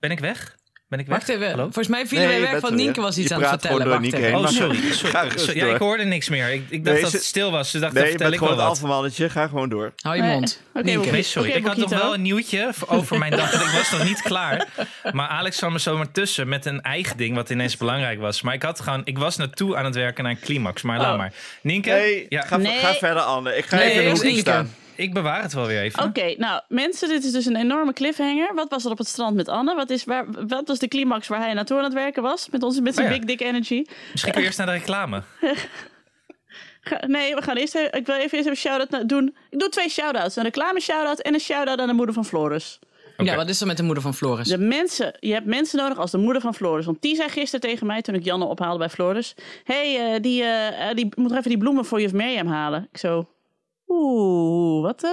Ben ik weg? Ben ik weg?
Wacht even.
Hallo?
Volgens mij vielen
Nee,
wij
je
weg,
bent eh,
want
er weer.
Nienke was iets
Je
aan het
praat
vertellen.
gewoon door
Wacht
Nienke
even.
Oh, sorry.
Maar- Ga
sorry,
rustig
sorry. Ja,
door.
ik hoorde niks meer. Ik, ik dacht
Nee,
dat
ze-
het stil was. Dus dacht ik,
Nee,
vertel
met
ik wel
gewoon het
wat.
afvalmannetje. Ga gewoon door.
Hou je
Nee.
mond.
Oké,
Nienke.
Nee, sorry.
Oké,
ik had nog
Bokito.
wel een nieuwtje voor- over mijn dag. want ik was nog niet klaar. Maar Alex kwam er zomaar tussen met een eigen ding wat ineens belangrijk was. Maar ik had gewoon, ik was naartoe aan het werken naar een climax. Maar laat
Oh.
maar. Nienke,
Nee,
ja,
ga,
Nee.
ga verder, Anne. Ik ga
Nee,
even in de
eerst
hoek
Nienke.
staan.
ik bewaar het wel weer even.
Oké, nou mensen, dit is dus een enorme cliffhanger. Wat was er op het strand met Anne? Wat, is, waar, wat was de climax waar hij naartoe aan het werken was? Met ons met zijn
Oh ja.
big dick energy.
Misschien kun je eerst naar de reclame.
Ga- nee, we gaan eerst even, ik wil even eerst een shout-out na- doen. Ik doe twee shout-outs. Een reclame shout-out en een shout-out aan de moeder van Floris.
Oké.
Ja, wat is er met de moeder van Floris?
De mensen, je hebt mensen nodig als de moeder van Floris. Want die zei gisteren tegen mij toen ik Janne ophaalde bij Floris. Hé, hey, eh, die, eh, eh, die moet nog even die bloemen voor juf Mirjam halen. Ik zo, oeh, wat eh.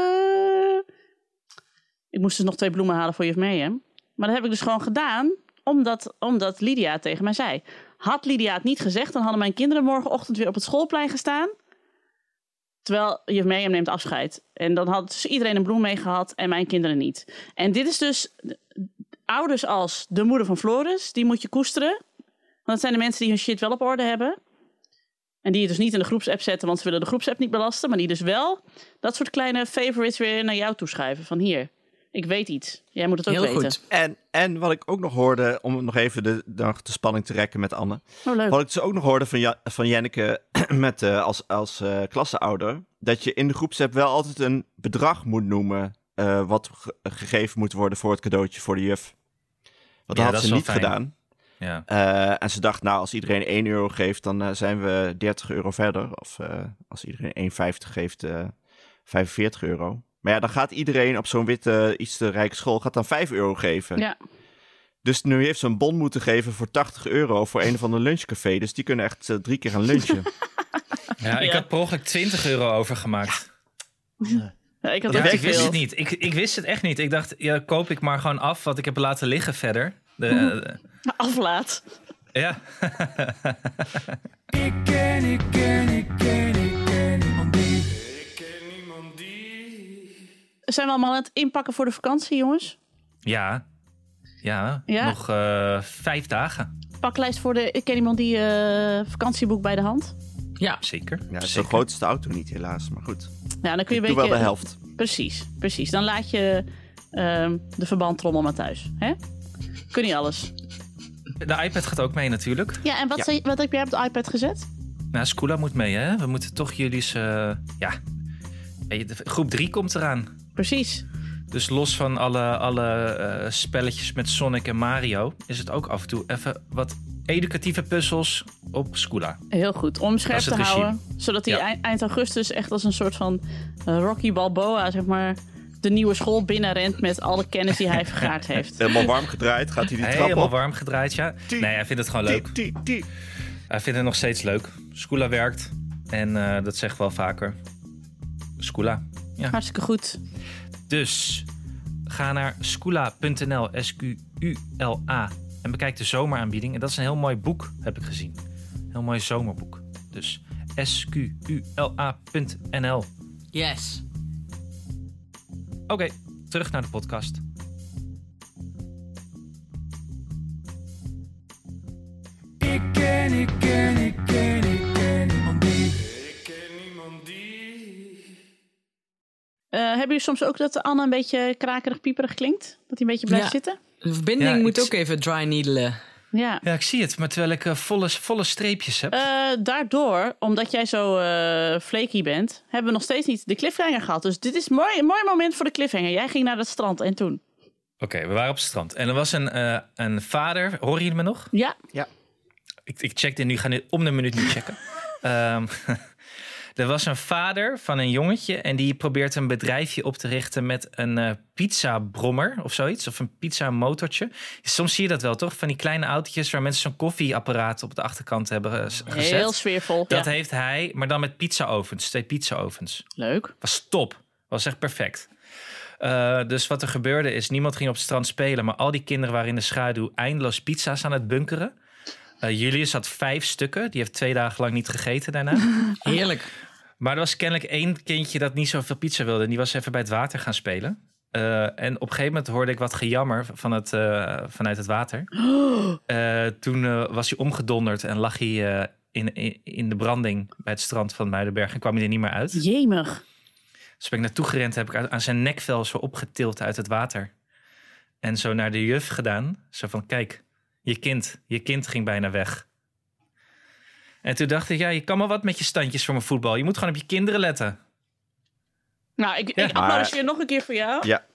Ik moest dus nog twee bloemen halen voor juf Mirjam. Maar dat heb ik dus gewoon gedaan, omdat, omdat Lydia het tegen mij zei. Had Lydia het niet gezegd, dan hadden mijn kinderen morgenochtend weer op het schoolplein gestaan. Terwijl juf Mirjam neemt afscheid. En dan had dus iedereen een bloem mee gehad en mijn kinderen niet. En dit is dus ouders als de moeder van Floris, die moet je koesteren. Want dat zijn de mensen die hun shit wel op orde hebben. En die je dus niet in de groepsapp zetten, want ze willen de groepsapp niet belasten. Maar die dus wel dat soort kleine favorites weer naar jou toeschuiven. Van hier, ik weet iets. Jij moet het ook
Heel
weten.
goed.
En, en wat ik ook nog hoorde, om nog even de, de, de spanning te rekken met Anne.
Oh, leuk.
Wat ik dus ook nog hoorde van, ja, van Jenneke met, eh, als, als eh klasseouder. Dat je in de groepsapp wel altijd een bedrag moet noemen. eh, wat ge- gegeven moet worden voor het cadeautje voor de juf. Want dat
Ja,
had
dat is
ze
wel
niet
fijn.
gedaan.
Ja.
Eh, en ze dacht, nou, als iedereen 1 euro geeft, dan eh, zijn we 30 euro verder. Of eh, als iedereen 1,50 geeft, eh 45 euro. Maar ja, dan gaat iedereen op zo'n witte, iets te rijke school, gaat dan 5 euro geven.
Ja.
Dus nu heeft ze een bon moeten geven voor 80 euro voor een van de lunchcafé. Dus die kunnen echt eh, drie keer gaan lunchen.
Ja, ik
Ja.
had per ongeluk 20 euro overgemaakt.
Ja, ik had
Ja,
ook te
ik wist
veel.
het niet. Ik, ik wist het echt niet. Ik dacht, ja, koop ik maar gewoon af wat ik heb laten liggen verder. De,
Mhm.
eh,
Aflaat.
ja.
Ik ken, ik ken, ik ken, ik ken niemand die. Ik ken niemand die.
Zijn we allemaal aan het inpakken voor de vakantie, jongens?
Ja. Ja,
Ja.
nog eh, vijf dagen.
Paklijst voor de... Ik ken iemand die eh, vakantieboek bij de hand.
Ja,
Zeker.
Ja, zo
Zeker.
groot is de auto niet helaas, maar goed.
Nou, dan kun je
Ik
een
doe wel
beetje...
de helft.
Precies, precies. Dan laat je ehm, de verbandtrommel maar thuis. Hè? Kun je alles.
De iPad gaat ook mee natuurlijk.
Ja, en wat,
Ja.
zei- wat heb jij op de iPad gezet?
Nou, Skoola moet mee, hè? We moeten toch jullie... ze- ja. Weet je, de- Groep 3 komt eraan.
Precies.
Dus los van alle, alle eh, spelletjes met Sonic en Mario... is het ook af en toe even wat educatieve puzzels op Skoola.
Heel goed. Om scherp
Dat is
te
het
houden. Zodat hij
Ja.
eind, eind augustus echt als een soort van eh, Rocky Balboa, zeg maar, de nieuwe school binnenrent met alle kennis die hij vergaard heeft.
Helemaal warm gedraaid, gaat hij die trap
Helemaal
op.
warm gedraaid, ja.
Tien.
Nee, hij vindt het gewoon leuk.
Tie, tie, tie.
Hij vindt het nog steeds leuk. Skoola werkt. En eh, dat zeg ik wel vaker. Skoola.
Hartstikke goed.
Dus ga naar skoola.nl, S-Q-U-L-A. En bekijk de zomeraanbieding. En dat is een heel mooi boek, heb ik gezien. Heel mooi zomerboek. Dus S-Q-U-L-A.nl. Oké,
yes.
terug naar de podcast.
Ik ken, ik ken, ik ken, ik ken niemand die. Ik ken niemand die.
Eh, hebben jullie soms ook dat Anne een beetje krakerig, pieperig klinkt? Dat hij een beetje blijft
Ja.
zitten?
De verbinding
Ja,
moet
ik-
ook even dry needelen.
Ja.
Ja, ik zie het. Maar terwijl ik eh, volle, volle streepjes heb.
Eh, daardoor, omdat jij zo eh flaky bent, hebben we nog steeds niet de cliffhanger gehad. Dus dit is mooi, een mooi moment voor de cliffhanger. Jij ging naar het strand en toen.
Oké, we waren op het strand. En er was een, eh, een vader. Hoor je me nog?
Ja,
Ik, ik check dit nu, ga nu om de minuut niet checken. Ehm, er was een vader van een jongetje en die probeert een bedrijfje op te richten met een eh pizzabrommer of zoiets. Of een pizza motortje. Soms zie je dat wel, toch? Van die kleine autootjes waar mensen zo'n koffieapparaat op de achterkant hebben eh, s- gezet.
heel sfeervol.
dat
ja.
heeft hij, maar dan met pizzaovens. Twee pizzaovens.
Leuk.
Was top. Was echt perfect. Eh, dus wat er gebeurde is, niemand ging op het strand spelen, maar al die kinderen waren in de schaduw eindeloos pizza's aan het bunkeren. Eh, Julius had vijf stukken, die heeft twee dagen lang niet gegeten daarna.
Heerlijk.
maar er was kennelijk één kindje dat niet zoveel pizza wilde en die was even bij het water gaan spelen. Eh, en op een gegeven moment hoorde ik wat gejammer van het, eh, vanuit het water. Eh, toen eh, was hij omgedonderd en lag hij eh, in, in, in de branding bij het strand van Muidenberg en kwam hij er niet meer uit.
Jemig.
Dus ben ik naartoe gerend, heb ik aan- aan zijn nekvel zo opgetild uit het water. En zo naar de juf gedaan. Zo van, kijk, je kind, je kind ging bijna weg. En toen dacht ik, ja, je kan maar wat met je standjes voor mijn voetbal. Je moet gewoon op je kinderen letten.
Nou, ik, ik
Ja.
applaudisseer nog een keer voor jou.
Ja,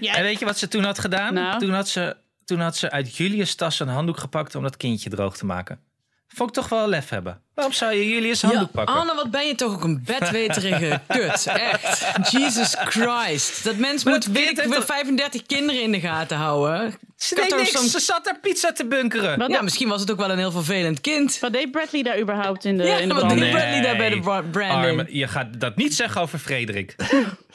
Ja.
En weet je wat ze toen had gedaan?
Nou.
Toen, had ze, toen had ze uit Julius' tas een handdoek gepakt om dat kindje droog te maken. Vond ik toch wel lef hebben. Waarom zou je Julius' handdoek
ja,
pakken?
Anne, wat ben je toch ook een bedweterige kut. Echt. Jesus Christ. Dat mens
Maar
moet
dat
weet
kind
ik
heeft
wel
toch-
35 kinderen in de gaten houden.
ze
Kut
deed
er
niks.
soms-
Ze zat daar pizza te bunkeren.
Wat,
Ja, misschien was het ook wel een heel vervelend kind.
wat deed Bradley daar überhaupt in de,
Ja,
in de
wat
brand?
deed- Bradley daar bij de bra- branding.
Arme- je gaat dat niet zeggen over Frederik.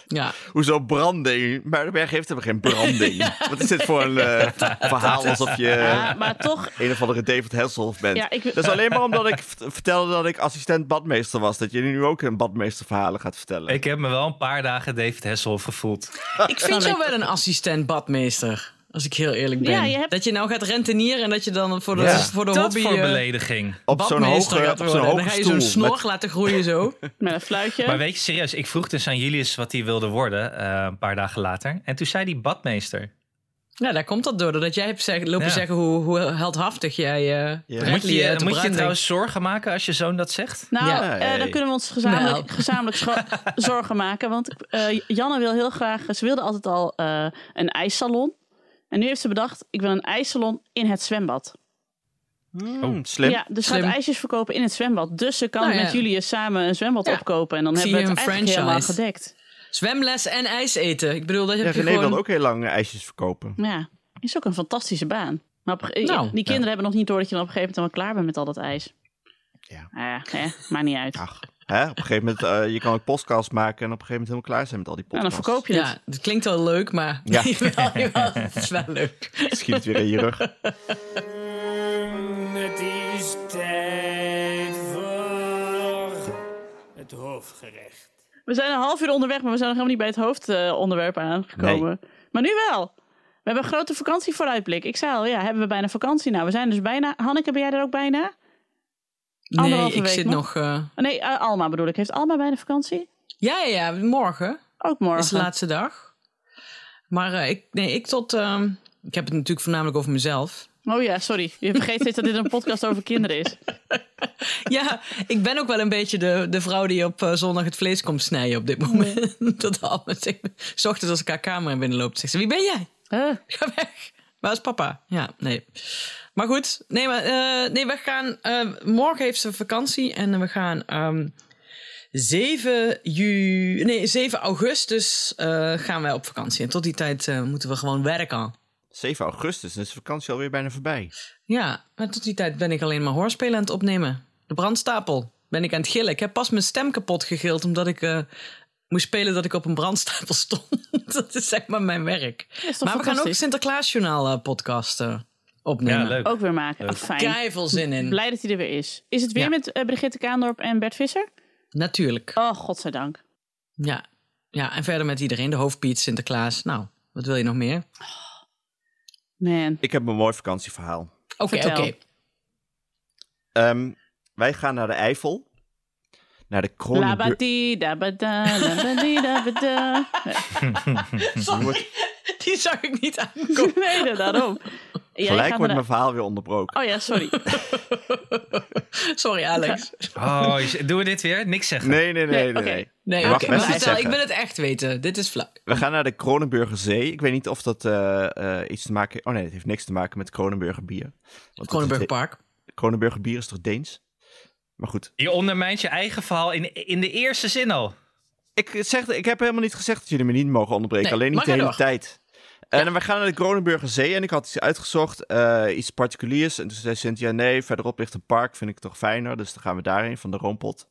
Ja.
hoezo branding? Muidenberg heeft helemaal geen branding. Wat is dit voor een eh, verhaal alsof je...
Ja, maar toch,
een of andere David Hasselhoff bent.
Ja, ik-
Dat is alleen maar omdat ik v- vertelde dat ik assistent badmeester was. Dat je nu ook een badmeesterverhalen gaat vertellen.
Ik heb me wel een paar dagen David Hesselhoff gevoeld.
Ik vind jou wel een assistent badmeester. Als ik heel eerlijk ben.
Ja, je hebt-
Dat je nou gaat rentenieren en dat je dan voor de,
Ja.
voor de
Dat
hobby...
voor
eh,
belediging.
Op zo'n
badmeester
hoge,
gaat
op zo'n
worden. En
hoge
dan ga je
stoel.
zo'n snor
met-
laten groeien zo.
met een fluitje.
Maar weet je, serieus, ik vroeg dus aan Julius wat hij wilde worden eh, een paar dagen later. En toen zei hij badmeester.
Ja, daar komt dat door. Doordat jij hebt zeg- lopen
Ja.
zeggen hoe, hoe heldhaftig jij eh
Ja.
Bradley
Moet je, moet
uit de
je
branding-
trouwens zorgen maken als je zoon dat zegt?
Nou,
Ja.
eh, dan kunnen we ons gezamenlijk,
Nou.
gezamenlijk scho- zorgen maken. Want eh, Janne wil heel graag, ze wilde altijd al eh, een ijssalon. En nu heeft ze bedacht, ik wil een ijssalon in het zwembad.
Mm, slim.
Ja, dus ze
Slim.
gaat ijsjes verkopen in het zwembad. Dus ze kan
Nou ja.
met Julius samen een zwembad
Ja.
opkopen. En dan
Zie
hebben we
je
het
een
eigenlijk helemaal
franchise.
gedekt.
Zwemles en ijs eten. Ik bedoel, dat
Ja,
heb je
René
gewoon...
wilde ook heel lang eh, ijsjes verkopen.
Ja. Is ook een fantastische baan. Maar op een ge- eh,
Nou,
die kinderen hebben nog niet door dat je dan op een gegeven moment wel klaar bent met al dat ijs.
Ja.
Nou ja, hè, maakt niet uit. Nou,
Ach, hè? op een gegeven moment, eh, je kan ook podcasts maken en op een gegeven moment helemaal klaar zijn met al die
en dan
podcasts.
verkoop je het.
Ja, dat klinkt wel leuk, maar
Ja.
jawel, jawel, het is wel leuk.
Schiet het weer in je rug.
Het is tijd voor het hoofdgerecht.
We zijn een half uur onderweg, maar we zijn nog helemaal niet bij het hoofdonderwerp eh, aangekomen. Maar nu wel. We hebben een grote vakantie vooruitblik. Ik zei al, ja, hebben we bijna vakantie nou? We zijn dus bijna. Hanneke, ben jij er ook bijna?
Nee,
Anderhalve
ik
week
zit
nog.
nog... eh,
Oh, Nee, eh, Alma bedoel ik. Heeft Alma bijna vakantie?
ja, ja, ja, morgen.
Ook morgen.
is de laatste dag. Maar eh, ik, nee, ik tot. ehm, ik heb het natuurlijk voornamelijk over mezelf.
Oh ja, sorry. Je vergeet steeds dat dit een podcast over kinderen is.
Ja, ik ben ook wel een beetje de, de vrouw die op eh, zondag het vlees komt snijden op dit moment. Dat allemaal zegt. 's ochtends als ik haar camera binnenloop, zegt ze: Wie ben jij?
Huh?
Ga weg. Waar is papa? Ja, nee. Maar goed, nee, maar, eh, nee we gaan. eh, morgen heeft ze vakantie en we gaan. ehm 7, ju nee, 7 augustus eh, gaan wij op vakantie. En tot die tijd eh, moeten we gewoon werken.
7 augustus, dan is de vakantie alweer bijna voorbij.
Ja, maar tot die tijd ben ik alleen maar hoorspelen aan het opnemen. De brandstapel ben ik aan het gillen. Ik heb pas mijn stem kapot gegild omdat ik eh, moest spelen dat ik op een brandstapel stond. dat is zeg maar mijn werk.
Is toch
maar we gaan ook
fantastisch?
Sinterklaasjournaal eh, podcast eh, opnemen.
Ja, leuk.
Ook weer maken. Ach, fijn.
Kei veel zin in.
Blij dat hij er weer is. Is het weer
Ja.
met eh, Brigitte Kaandorp en Bert Visser?
Natuurlijk.
Oh, godzijdank.
Ja. ja, en verder met iedereen. De hoofdpiet, Sinterklaas. Nou, wat wil je nog meer?
Man.
Ik heb een mooi vakantieverhaal.
Oké,
Vertel.
oké.
Ehm, wij gaan naar de Eifel. Naar de Kronenburg.
Labadi, dabada, labadi, dabada.
Hm,
Sorry, die zag ik niet aankomen.
Nee, daarom. Ja, je
Gelijk
gaat
wordt
naar
mijn verhaal weer
de-
onderbroken.
Oh ja, sorry.
Sorry, Alex.
Oh, je- doen we dit weer? Niks zeggen.
Nee, nee, nee, nee.
oké.
nee.
Nee,
Mag best
oké. maar
iets
vertel, ik
zeggen.
wil het echt weten. Dit is flauw.
We gaan naar de Kronenburger Zee. Ik weet niet of dat eh, eh, iets te maken heeft. Oh nee, het heeft niks te maken met Kronenburger bier. Want
Kronenburg
dat-
Park.
Kronenburger bier is toch Deens? Maar goed.
Je ondermijnt je eigen verhaal in, in de eerste zin al.
Ik, zeg, ik heb helemaal niet gezegd dat jullie me niet mogen onderbreken.
Nee,
alleen niet
maar
de
ga
hele
door.
tijd. Eh, En we gaan naar de Kronenburger Zee. En ik had iets uitgezocht, eh, iets particuliers. En toen zei Cynthia, nee, verderop ligt een park. Vind ik toch fijner. Dus dan gaan we daarheen, van de Roompot.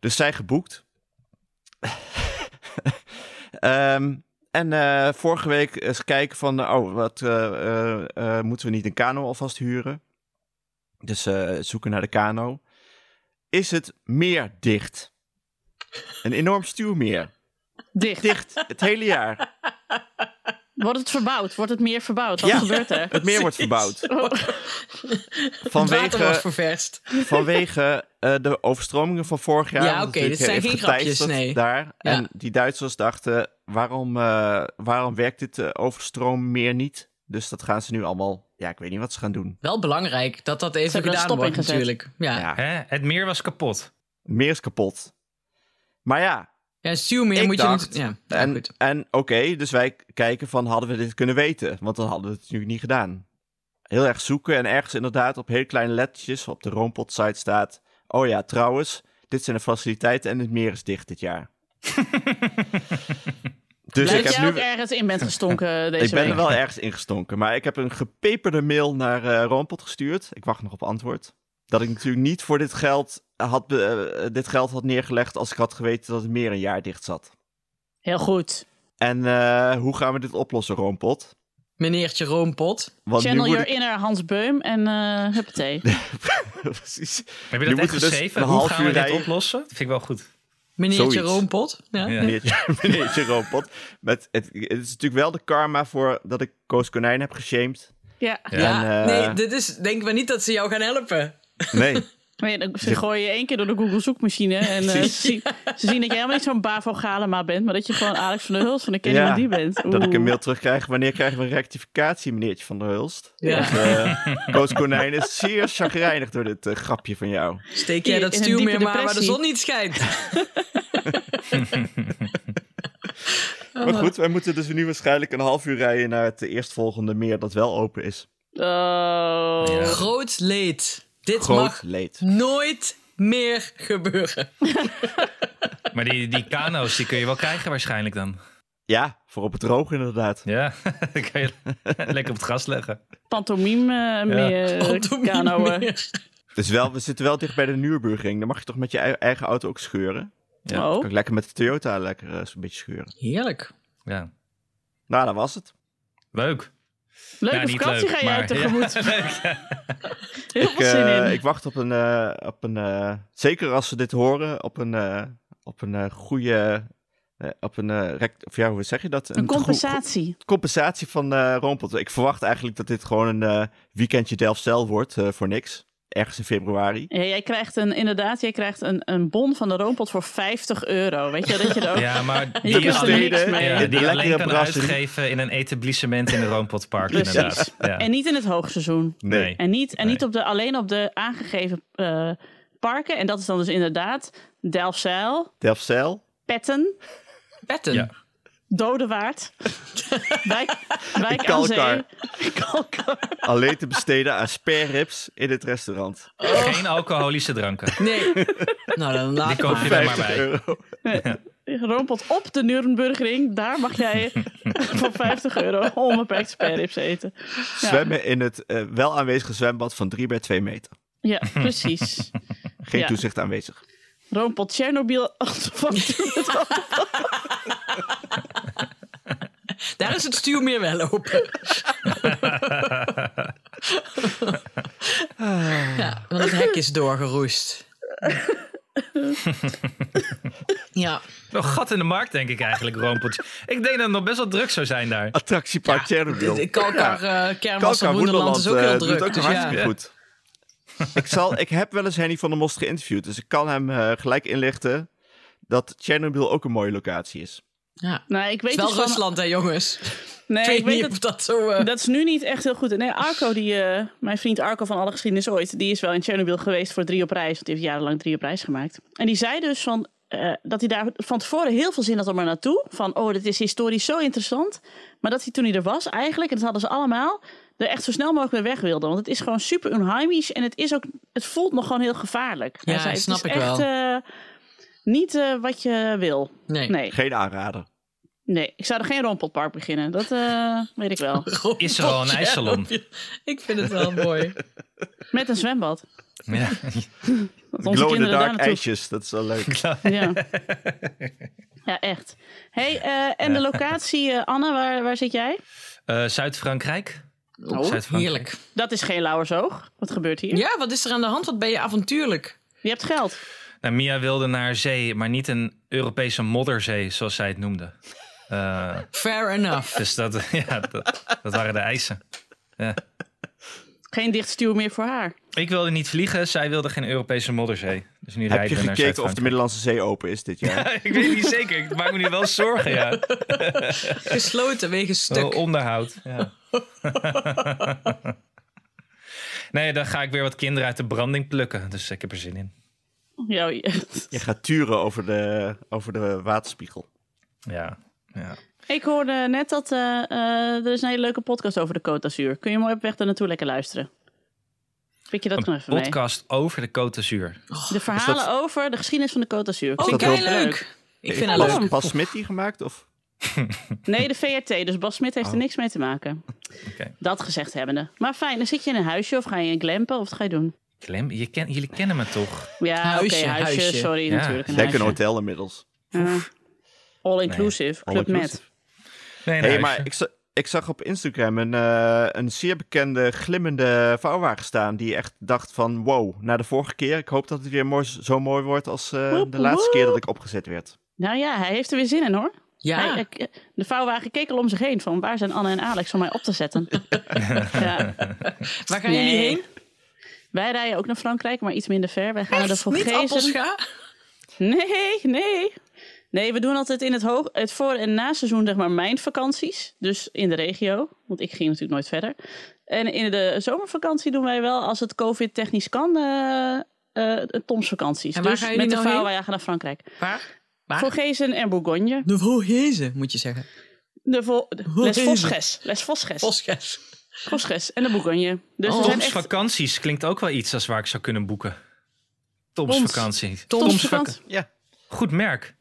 Dus zij geboekt. Ehm, en eh, vorige week eens kijken van, oh, wat eh, eh, eh, moeten we niet een kano alvast huren? Dus eh, zoeken naar de kano. Is het meer dicht? Een enorm stuwmeer.
Dicht.
Dicht, het hele jaar.
Wordt het verbouwd? Wordt het meer verbouwd? Wat
Ja.
gebeurt er?
Het meer wordt verbouwd.
Het water wordt
Vanwege,
ververst.
vanwege eh, de overstromingen van vorig jaar.
Ja,
Want
oké, dit
natuurlijk
zijn
heeft
geen grapjes,
geteisterd
nee.
Daar.
Ja.
En die Duitsers dachten, waarom, eh, waarom werkt dit eh, overstroommeer niet? Dus dat gaan ze nu allemaal, ja, ik weet niet wat ze gaan doen.
Wel belangrijk dat dat even
hebben er een
gedaan
stop
wordt
in gezet.
natuurlijk. Ja. ja.
Ja,
Hè? Het meer was kapot.
meer is kapot. Maar ja,
stuwmeer
Ik
moet
dacht,
je... niet- Nou Ja, ja,
en,
goed.
en oké, dus wij k- kijken van hadden we dit kunnen weten? Want dan hadden we het nu niet gedaan. Heel erg zoeken en ergens inderdaad op heel kleine lettertjes op de Roompot site staat... Oh ja, trouwens, dit zijn de faciliteiten en het meer is dicht dit jaar. dus
dat
ik heb
jij ook
nu...
ergens in bent gestonken deze
Ik ben er
week.
wel ergens ingestonken, maar ik heb een gepeperde mail naar eh Roompot gestuurd. Ik wacht nog op antwoord. Dat ik natuurlijk niet voor dit geld had, be- eh, dit geld had neergelegd als ik had geweten dat het meer een jaar dicht zat.
Heel goed.
En eh, hoe gaan we dit oplossen, Roompot?
Meneertje Roompot.
Want
Channel
nu moet
your inner Hans Beum en eh huppatee.
ik... Precies.
Heb je
Nu
dat echt
moeten we dus
geschreven?
een
Hoe
half
gaan we
uur
dit
rijden.
oplossen? Dat vind ik wel goed.
Meneertje
Zoiets.
Roompot. Ja.
Ja.
Meneertje, meneertje Roompot. Met het, het is natuurlijk wel de karma voor dat ik Koos Konijn heb geshamed.
ja.
Ja,
En, eh,
nee, dit is... Denk maar niet dat ze jou gaan helpen.
Nee.
Maar ja, dan- ze gooien je één keer door de Google zoekmachine. En eh, ze,
Precies.
zien, ze zien dat je helemaal niet zo'n Bavo Galema bent. Maar dat je gewoon Alex van der Hulst van de Kenny
Ja,
die bent.
Dat ik een
Oeh.
mail terugkrijg. Wanneer krijgen we een rectificatie, meneertje Van der Hulst?
Ja.
Want, eh, Koos Konijn is zeer chagrijnig door dit eh, grapje van jou.
Steek jij
In-
dat
in een
stuwmeer
diepe
maar waar de
depressie.
zon niet schijnt.
Oh.
Maar goed, wij moeten dus nu waarschijnlijk een half uur rijden naar het eerstvolgende meer dat wel open is.
Oh.
Groot leed. Dit
Groot
mag
leed.
nooit meer gebeuren.
Maar die, die kano's die kun je wel krijgen waarschijnlijk dan.
Ja, voor op het droog inderdaad.
Ja, dan kan je lekker op het gas leggen.
Pantomime eh, meer eh,
Pantomime
kanoën.
meer.
Dus wel, we zitten wel dicht bij de Nürburgring. Dan mag je toch met je ei- eigen auto ook scheuren.
Ja.
Oh,
Kan ik lekker met de Toyota lekker eh, zo'n beetje scheuren.
Heerlijk.
Ja.
Nou, dat was het.
Leuk.
leuke
Nou, niet
vakantie
leuk,
ga jij
maar-
tegemoet.
Ja, leuk, ja.
Heel
Ik,
veel zin
eh,
in.
ik wacht op een, eh, op een eh, zeker als ze dit horen, op een, eh, op een eh, goede, eh, op een, eh, rect- of ja, hoe zeg je dat?
een
goe-
compensatie.
go- compensatie van eh Rompelt. Ik verwacht eigenlijk dat dit gewoon een eh, weekendje Delfzijl wordt eh, voor niks. Ergens in februari.
Ja, jij krijgt een, inderdaad, jij krijgt een, een bon van de Roompot voor 50 euro. Weet je, dat je er ook...
Ja, maar
Je
die,
kunt er
alleen,
niks
besteden
mee.
ja,
in de
die je alleen
lekkere
kan
brassen.
uitgeven in een etablissement in een Roompotpark
Precies.
inderdaad. Ja.
En niet in het hoogseizoen.
Nee.
Nee.
En niet, en
Nee.
niet op de, alleen op de aangegeven eh, parken. En dat is dan dus inderdaad Delfzijl,
Delfzijl.
Petten,
Petten.
Ja.
Dodewaard, Wijk, Wijk aan Zee,
Kalkar.
Kalkar.
Alleen te besteden aan spareribs in het restaurant.
Geen alcoholische dranken.
Nee. nou, dan laat
Die
maar.
koop je er maar
50
bij.
Ah, euro.
Rompelt op de Nürnbergring. Daar mag jij voor 50 euro onbeperkt sperrips eten.
Zwemmen in het eh, wel aanwezige zwembad van 3 bij 2 meter.
Ja, precies.
Geen
Ja.
toezicht aanwezig.
Roompot Tsjernobyl achtervangt.
Daar is het stuur meer wel open. ja, want het hek is doorgeroest. ja.
Nog gat in de markt, denk ik eigenlijk, Roompot. Ik denk dat het nog best wel druk zou zijn daar.
Attractiepark Chernobyl.
De Kalkar eh, Kermis van Woenderland is ook
eh,
heel
doet
druk.
ook
dus ja.
hartstikke goed. ik, zal, ik heb wel eens Henny van der Most geïnterviewd, dus ik kan hem eh, gelijk inlichten dat Chernobyl ook een mooie locatie is.
Ja.
Nou, ik weet
Het is
dus
wel
van-
Rusland, hè, jongens. ik
Nee,
weet,
ik weet
niet
het
of dat zo... eh,
Dat is nu niet echt heel goed. Nee, Arco, die, eh, mijn vriend Arco van Alle Geschiedenis Ooit, die is wel in Tsjernobyl geweest voor drie op reis. Want die heeft jarenlang drie op reis gemaakt. En die zei dus van, eh, dat hij daar van tevoren heel veel zin had om er naartoe. Van, oh, dit is historisch zo interessant. Maar dat hij toen hij er was eigenlijk, en dat hadden ze allemaal, er echt zo snel mogelijk weer weg wilde. Want het is gewoon super unheimisch en het, is ook, het voelt nog gewoon heel gevaarlijk.
Ja,
Hij zei,
snap
het
ik
is echt,
wel.
eh, niet eh, wat je wil.
nee.
Nee.
Geen aanrader.
nee, ik zou er geen rompelpark beginnen. Dat eh, weet ik wel.
Gewoon
Is er al een
potje.
ijssalon?
Ik vind het wel mooi.
Met een zwembad.
Ja.
Dat onze
Glow in the
kinderen daar
dark
naartoe
ijsjes, dat is wel leuk.
Ja. ja, echt. Hey, eh, en de locatie, eh, Anne, waar, waar zit jij?
Eh, Zuid-Frankrijk.
Oh,
Zuid-Frankrijk.
Heerlijk.
Dat is geen Lauwersoog. Wat gebeurt hier?
Ja, wat is er aan de hand? Wat ben je avontuurlijk?
Je hebt geld.
Nou, Mia wilde naar zee, maar niet een Europese modderzee, zoals zij het noemde. Eh,
Fair enough.
dus dat, ja, dat, dat waren de eisen.
Geen dicht stuur meer voor haar.
Ik wilde niet vliegen, zij wilde geen Europese modderzee. Dus nu
Heb je
rijden we naar
gekeken of de
Zuid-Frankrijk.
Middellandse Zee open is dit jaar?
Ik weet niet zeker, ik maak me nu wel zorgen, ja.
Gesloten wegens stuk.
Oh, onderhoud. Ja. nee, dan ga ik weer wat kinderen uit de branding plukken. Dus ik heb er zin in.
Ja, je-
Je gaat turen over de, over de waterspiegel.
Ja. ja.
ik hoorde net dat eh, eh, er is een hele leuke podcast over de Côte d'Azur. Kun je mooi op weg daar naartoe lekker luisteren? Pik je dat nog even mee?
Podcast over de Côte d'Azur.
De verhalen over de geschiedenis van de Côte d'Azur.
Oh,
Klinkt
kei
heel
leuk. Ik vind haar
Pas,
leuk.
pas Smit die gemaakt? Of?
Nee, de VRT. Dus Bas Smit heeft er niks mee te maken.
Oké.
Dat gezegd hebbende. Maar fijn, dan zit je in een huisje of ga je in glempen of wat ga je doen?
Clem, je ken, jullie kennen me toch?
Ja,
Huisje,
oké, huisje,
huisje.
sorry,
Ja.
natuurlijk. Een
Lekker een
huisje.
hotel inmiddels.
Ja. all inclusive,
All
Club
inclusive.
Med.
Nee,
Hé,
nee.
maar ik, za- ik zag op Instagram een, eh, een zeer bekende glimmende vouwwagen staan. Die echt dacht van, wow, na de vorige keer. Ik hoop dat het weer mooi, zo mooi wordt als eh,
Woep,
de laatste
woep.
keer dat ik opgezet werd.
Nou ja, hij heeft er weer zin in hoor. Hij-
Ja,
ik- eh, de vouwwagen keek al om zich heen van waar zijn Anne en Alex om mij op te zetten. ja.
waar gaan
Nee.
jullie heen?
Wij rijden ook naar Frankrijk, maar iets minder ver. Wij gaan naar de
Niet
Vogezen.
appelscha?
Nee, nee. Nee, we doen altijd in het, hoog, het voor- en na-seizoen zeg maar mijn vakanties. Dus in de regio, want ik ging natuurlijk nooit verder. En in de zomervakantie doen wij wel, als het covid-technisch kan, eh eh Tomsvakanties.
En waar
dus
gaan jullie
met de
nou heen?
vouwwagen naar Frankrijk.
Waar? Waar?
Vogezen en Bourgogne.
De Vogezen, moet je zeggen.
De vol- de-
Hoe
Les
heet
Vosges. Les Vosges.
Voskes.
Vosges en de Bourgogne. Dus
Oh.
er zijn
Toms
echt
vakanties klinkt ook wel iets als waar ik zou kunnen boeken. Toms,
Toms.
vakantie.
Toms
vakantie.
vakantie.
Ja.
Goed merk.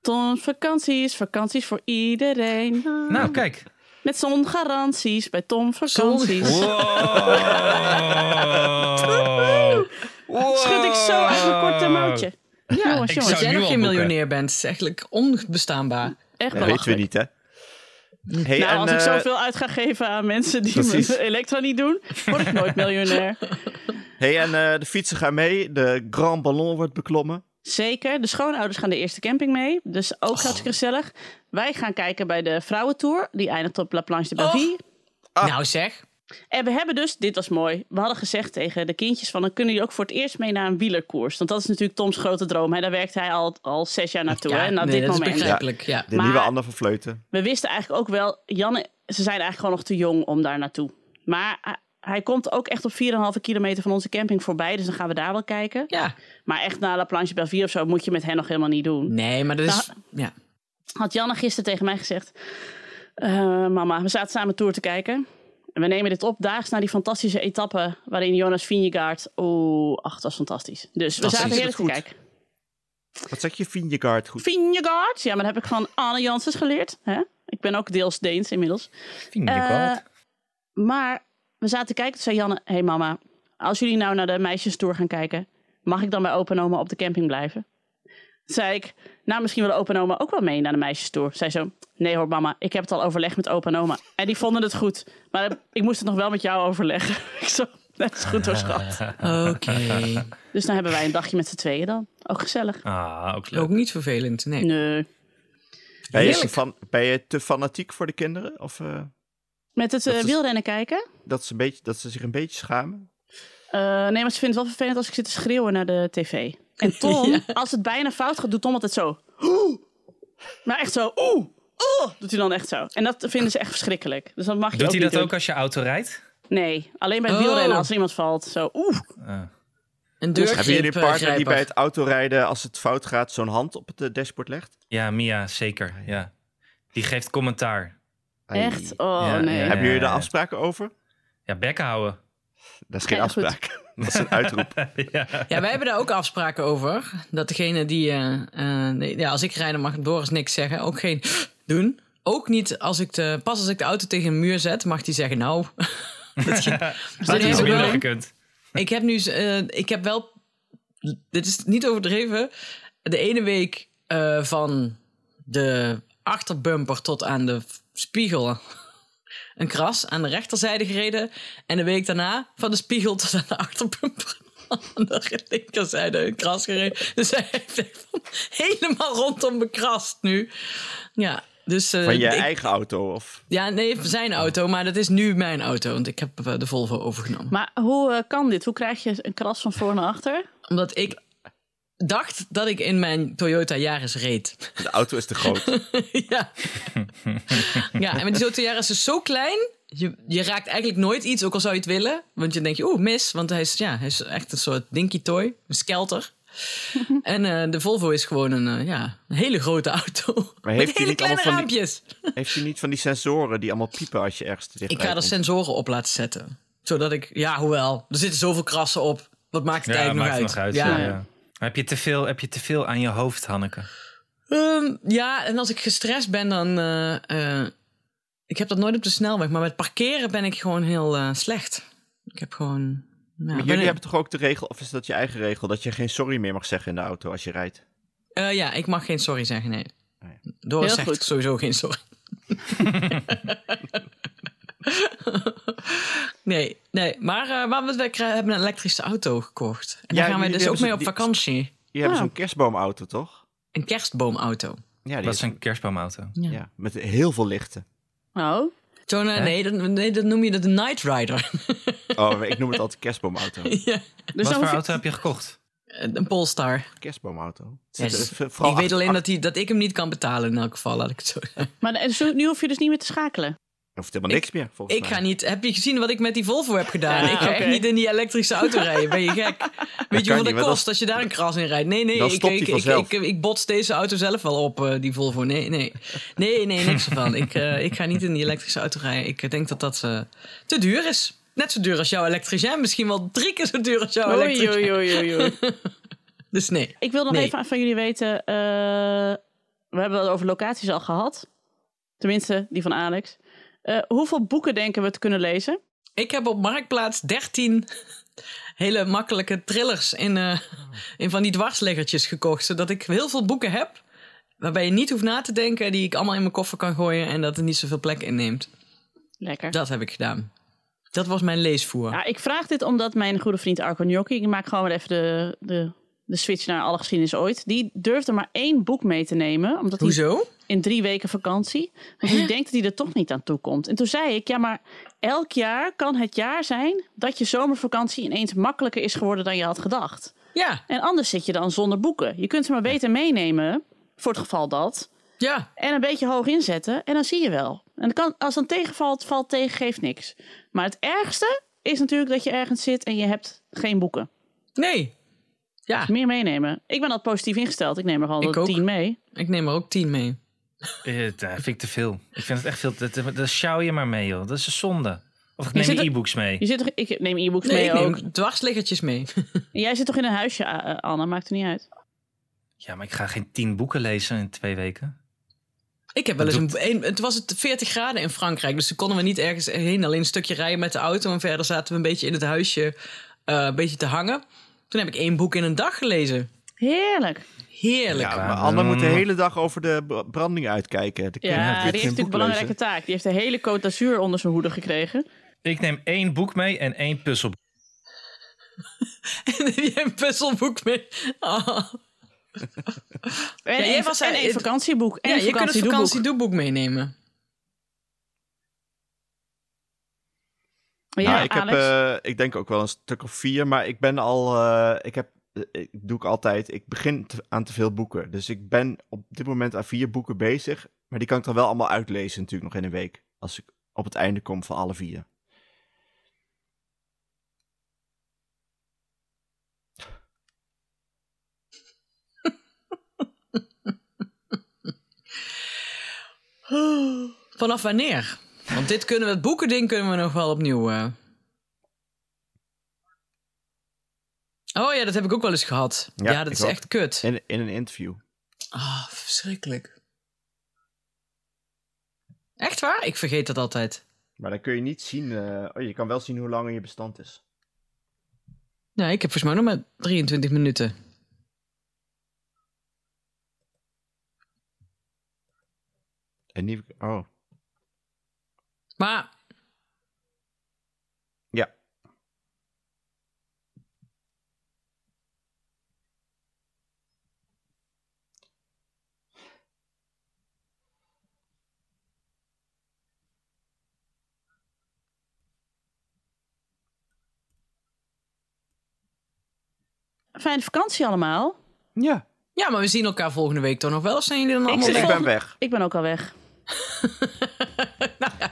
Tom, vakanties, vakanties voor iedereen.
Nou, kijk.
Met zongaranties bij Tom Vakanties.
Wow.
Schud ik zo uit mijn korte mouwtje. Ja, jongens, jongens.
ik
Als
zou
jij
nu
nog
al
geen
boeken.
miljonair bent, is eigenlijk onbestaanbaar.
Echt
Dat weten we
belachelijk.
niet, hè? Hey,
Nou,
en,
als ik
eh,
zoveel uit ga geven aan mensen die
precies.
mijn elektra niet doen, word ik nooit miljonair.
hey, en eh, de fietsen gaan mee. De Grand Ballon wordt beklommen.
Zeker. De schoonouders gaan de eerste camping mee. Dus
Oh.
ook hartstikke gezellig. Wij gaan kijken bij de vrouwentour. Die eindigt op La Planche de Bavie.
Oh.
Nou zeg.
En we hebben dus, dit was mooi, we hadden gezegd tegen de kindjes van... dan kunnen jullie ook voor het eerst mee naar een wielerkoers. Want dat is natuurlijk Toms grote droom. Hè? Daar werkt hij al, al zes jaar naartoe,
Ja,
hè, naar
nee,
dit
dat is
moment.
begrijpelijk. Ja.
De
Maar-
nieuwe Anne van Vleuten.
We wisten eigenlijk ook wel, Janne, ze zijn eigenlijk gewoon nog te jong om daar naartoe. Maar hij- hij komt ook echt op 4,5 kilometer van onze camping voorbij. Dus dan gaan we daar wel kijken.
ja.
Maar echt naar La Planche Belleville of zo moet je met hen nog helemaal niet doen.
Nee, maar dat is...
Nou,
Ja.
Had Janne gisteren tegen mij gezegd... "Eh, mama, we zaten samen tour te kijken. En we nemen dit op daags naar die fantastische etappe... waarin Jonas Vingegaard... Oeh, ach, dat was fantastisch. Dus we
Dat
zaten
is
heerlijk te
goed.
kijken.
Wat zeg je, Vingegaard? Goed.
Vingegaard! Ja, maar dat heb ik van Anne Janssens geleerd. Hè? Ik ben ook deels Deens inmiddels.
Vind je
Eh, Maar we zaten te kijken, toen zei Janne... Hé hey mama, als jullie nou naar de meisjestoer gaan kijken... mag ik dan bij opa en oma op de camping blijven? Toen zei ik, nou misschien willen opa en oma ook wel mee naar de meisjestoer. Zei zo, nee hoor mama, ik heb het al overlegd met opa en oma. En die vonden het goed. Maar ik moest het nog wel met jou overleggen. ik zo, dat is goed hoor schat.
Oké.
Dus dan hebben wij een dagje met z'n tweeën dan. Ook gezellig.
Ah, ook leuk.
Ook niet vervelend, nee.
Nee.
Ben je,
Heerlijk.
fan- ben je te fanatiek voor de kinderen? Of eh,
Met het eh,
Dat is-
wielrennen kijken?
dat, ze een beetje, dat ze zich een beetje schamen?
Eh, nee, maar ze vindt het wel vervelend als ik zit te schreeuwen naar de tv. En Tom, als het bijna fout gaat, doet Tom altijd zo. "Oeh." Maar echt zo, oeh, oeh, doet hij dan echt zo. En dat vinden ze echt verschrikkelijk. Dus dat mag je
Doet
ook
hij
niet
dat ook
doen.
als je auto rijdt?
Nee, alleen bij het
Oh.
wielrennen als er iemand valt. Zo, oeh.
Eh,
Een eh, deurgreep
Hebben jullie een partner die
grijper.
bij het autorijden, als het fout gaat, zo'n hand op het eh, dashboard legt?
ja, Mia, zeker. Ah, Ja. Die geeft commentaar.
Ai.
Echt? Oh,
Ja,
nee.
ja.
Hebben jullie daar afspraken over?
Ja, bekken houden.
Dat is geen
Ja, goed.
afspraak. Dat is een uitroep.
ja.
Ja, wij hebben daar ook afspraken over. Dat degene die... eh, eh, nee, ja, als ik rijd, dan mag Doris niks zeggen. Ook geen doen. Ook niet als ik de... Pas als ik de auto tegen een muur zet, mag die zeggen nou. dat ging- dus
Dat is
dit heb ik
minder
wel.
gekund.
Ik heb nu... eh, ik heb wel... Dit is niet overdreven. De ene week eh, van de achterbumper tot aan de spiegel... Een kras aan de rechterzijde gereden. En de week daarna van de spiegel tot aan de achterbumper. Aan de linkerzijde een kras gereden. Dus hij heeft echt van- helemaal rondom bekrast nu. Ja, dus. eh,
Van je
ik-
eigen auto? Of...
ja, nee, zijn auto. Maar dat is nu mijn auto. Want ik heb eh, de Volvo overgenomen.
Maar hoe eh, kan dit? Hoe krijg je een kras van voor naar achter?
Omdat ik dacht dat ik in mijn Toyota Yaris reed.
De auto is te groot.
ja. ja, en met die Toyota Yaris is zo klein. Je, je raakt eigenlijk nooit iets, ook al zou je het willen. Want je denkt, oeh, mis. Want hij is, ja, hij is echt een soort dinky toy. Een skelter. en eh, de Volvo is gewoon een, eh, ja, een hele grote auto.
Maar heeft hij
met hele
niet
kleine
allemaal van die-
raampjes.
Heeft hij niet van die sensoren die allemaal piepen als je ergens te dicht
Ik ga er
komt?
sensoren op laten zetten. Zodat ik, ja, hoewel. Er zitten zoveel krassen op. Wat maakt het
Ja,
eigenlijk
maakt het
nog
nog uit.
uit?
Ja. ja. Heb, je te veel, heb je te veel aan je hoofd, Hanneke?
Ehm, ja, en als ik gestrest ben, dan. eh, eh, ik heb dat nooit op de snelweg, maar met parkeren ben ik gewoon heel eh, slecht. Ik heb gewoon. nou,
Maar
ben
jullie
ik-
hebben toch ook de regel, of is dat je eigen regel, dat je geen sorry meer mag zeggen in de auto als je rijdt?
Eh, ja, ik mag geen sorry zeggen, nee. Doris
Heel
zegt
goed.
sowieso geen sorry. nee, nee. Maar, eh, maar we we hebben een elektrische auto gekocht. En
Ja,
daar gaan wij
jullie
dus ook
hebben
mee
ze-
op
die-
vakantie.
Je hebt
Ja.
zo'n kerstboomauto, toch?
Een kerstboomauto.
Ja, die
Dat
is
is een kerstboomauto.
Ja.
ja, met heel veel lichten.
Oh,
Zo'n, eh, nee, dat, nee, dat noem je de Night Rider.
Oh, ik noem het altijd kerstboomauto.
ja.
dus dan
Wat voor
hoef je...
auto heb je gekocht?
Een Polestar.
Kerstboomauto. Het
Ja,
zit
dus
er v- vooral
ik weet
achter-
alleen dat, hij dat ik hem niet kan betalen in elk geval, laat ik het zo zeggen.
Maar eh, zo- nu hoef je dus niet meer te schakelen.
Er hoeft helemaal niks meer, volgens
Ik
mij.
ga niet... Heb je gezien wat ik met die Volvo heb gedaan?
Ja,
ik ga
oké.
echt niet in die elektrische auto rijden. Ben je gek? Weet je
kan
hoeveel
niet,
dat
maar
kost als je daar een kras in rijdt? Nee, nee,
dan
ik,
stopt hij
ik, ik,
vanzelf.
ik, ik bots deze auto zelf wel op, eh, die Volvo. Nee, nee. Nee, nee, niks ervan. Ik, eh, ik ga niet in die elektrische auto rijden. Ik denk dat dat eh, te duur is. Net zo duur als jouw elektricien. Misschien wel drie keer zo duur als
Oh,
jouw
Oei,
elektricien.
oei, oei, oei, oei.
Dus nee.
Ik wil nog
Nee.
even van jullie weten. eh, we hebben het over locaties al gehad. Tenminste, die van Alex. Eh, hoeveel boeken denken we te kunnen lezen?
Ik heb op Marktplaats 13 hele makkelijke trillers in, eh, in van die dwarsliggertjes gekocht. Zodat ik heel veel boeken heb waarbij je niet hoeft na te denken. Die ik allemaal in mijn koffer kan gooien en dat er niet zoveel plek inneemt.
Lekker.
Dat heb ik gedaan. Dat was mijn leesvoer.
Ja, ik vraag dit omdat mijn goede vriend Arco Gnocchi, ik maak gewoon weer even de, de, de switch naar alle geschiedenis ooit. Die durfde maar één boek mee te nemen, omdat hij
Hoezo?
in drie weken vakantie. Want hij denkt dat hij er toch niet aan toe komt. En toen zei ik, ja, maar elk jaar kan het jaar zijn dat je zomervakantie ineens makkelijker is geworden dan je had gedacht.
Ja,
En anders zit je dan zonder boeken. Je kunt ze maar beter meenemen, voor het geval dat.
ja.
En een beetje hoog inzetten en dan zie je wel. En dan kan, als dan tegenvalt, valt tegen, geeft niks. Maar het ergste is natuurlijk dat je ergens zit en je hebt geen boeken.
Nee. Ja,
Meer meenemen. Ik ben al positief ingesteld. Ik neem er
Ik
al
ook.
tien mee.
ik neem er ook 10 mee.
Eh, Dat vind ik te veel. Ik vind het echt veel. te- te- Daar sjouw je maar mee, joh. Dat is een zonde. Of ik neem
zit
je
er-
e-books mee.
Je zit toch, ik neem e-books
Nee,
mee
ik
ook.
neem dwarsliggertjes mee.
En Jij zit toch in een huisje, eh, eh, Anne? Maakt het niet uit.
Ja, maar ik ga geen tien boeken lezen in twee weken.
Ik heb wel eens een, een- Het was het 40 graden in Frankrijk, dus toen konden we niet ergens heen. Alleen een stukje rijden met de auto en verder zaten we een beetje in het huisje eh, een beetje te hangen. Toen heb ik één boek in een dag gelezen.
Heerlijk.
Heerlijk.
Ja,
Ja,
maar
maar
Anne
dan-
moet de hele dag over de b- branding uitkijken. De
Ja,
kinderen
die
kunnen
heeft
geen
natuurlijk een
boek
belangrijke
lezen.
taak. Die heeft de hele Côte d'Azur onder zijn hoede gekregen.
Ik neem één boek mee en één puzzel.
een puzzelboek mee. Oh.
En
Ja, jij
één-
was-
en één
eh,
vakantieboek. En
Ja,
een
je kunt het
vakantiedoeboek.
vakantiedoeboek meenemen.
Ja,
Nou, ik, heb,
Alex.
eh, ik denk ook wel een stuk of vier, maar ik ben al. eh, ik heb, eh, ik doe ik altijd. Ik begin te- aan te veel boeken. Dus ik ben op dit moment aan vier boeken bezig. Maar die kan ik dan wel allemaal uitlezen, natuurlijk, nog in een week. Als ik op het einde kom van alle vier.
Vanaf wanneer? Want dit kunnen we, het boekending kunnen we nog wel opnieuw. eh. Oh ja, dat heb ik ook wel eens gehad. Ja,
Ja,
dat
ik
is
ook.
echt kut.
In, in een interview.
Ah, verschrikkelijk. Echt waar? Ik vergeet dat altijd.
Maar dan kun je niet zien. eh, oh, je kan wel zien hoe lang je bestand is.
Nou, ik heb volgens mij nog maar 23 minuten.
En niet. Oh.
Maar
Ja.
Fijne vakantie allemaal.
Ja.
ja, maar we zien elkaar volgende week toch nog wel. Of zijn jullie dan
Ik
allemaal
zit-
Ik
weg?
ben weg.
Ik ben ook al weg.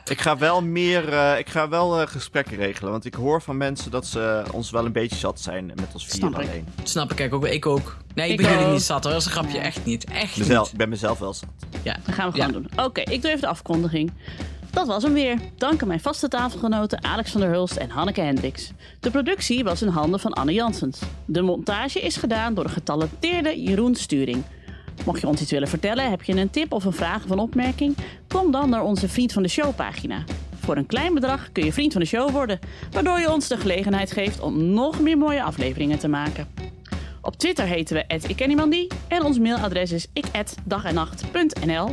Ik ga wel meer, eh, ik ga wel eh, gesprekken regelen, want ik hoor van mensen dat ze eh, ons wel een beetje zat zijn met ons vier
Snap ik.
alleen.
Snap ik, kijk ook. Ik ook. Nee, ik,
Ik
ben jullie
ook.
niet zat hoor. Dat is een grapje. Echt niet. Echt
Mezelf, ik ben mezelf wel zat.
niet. Ja.
Dat gaan we gewoon doen. Oké, ik doe even de afkondiging. Dat was hem weer. Dank aan mijn vaste tafelgenoten Alex van der Hulst en Hanneke Hendricks. De productie was in handen van Anne Janssens. De montage is gedaan door de getalenteerde Jeroen Sturing. Mocht je ons iets willen vertellen, heb je een tip of een vraag of een opmerking? Kom dan naar onze Vriend van de Show pagina. Voor een klein bedrag kun je Vriend van de Show worden, waardoor je ons de gelegenheid geeft om nog meer mooie afleveringen te maken. Op Twitter heten we @ikkenniemandie en ons mailadres is ik@dagennacht.nl.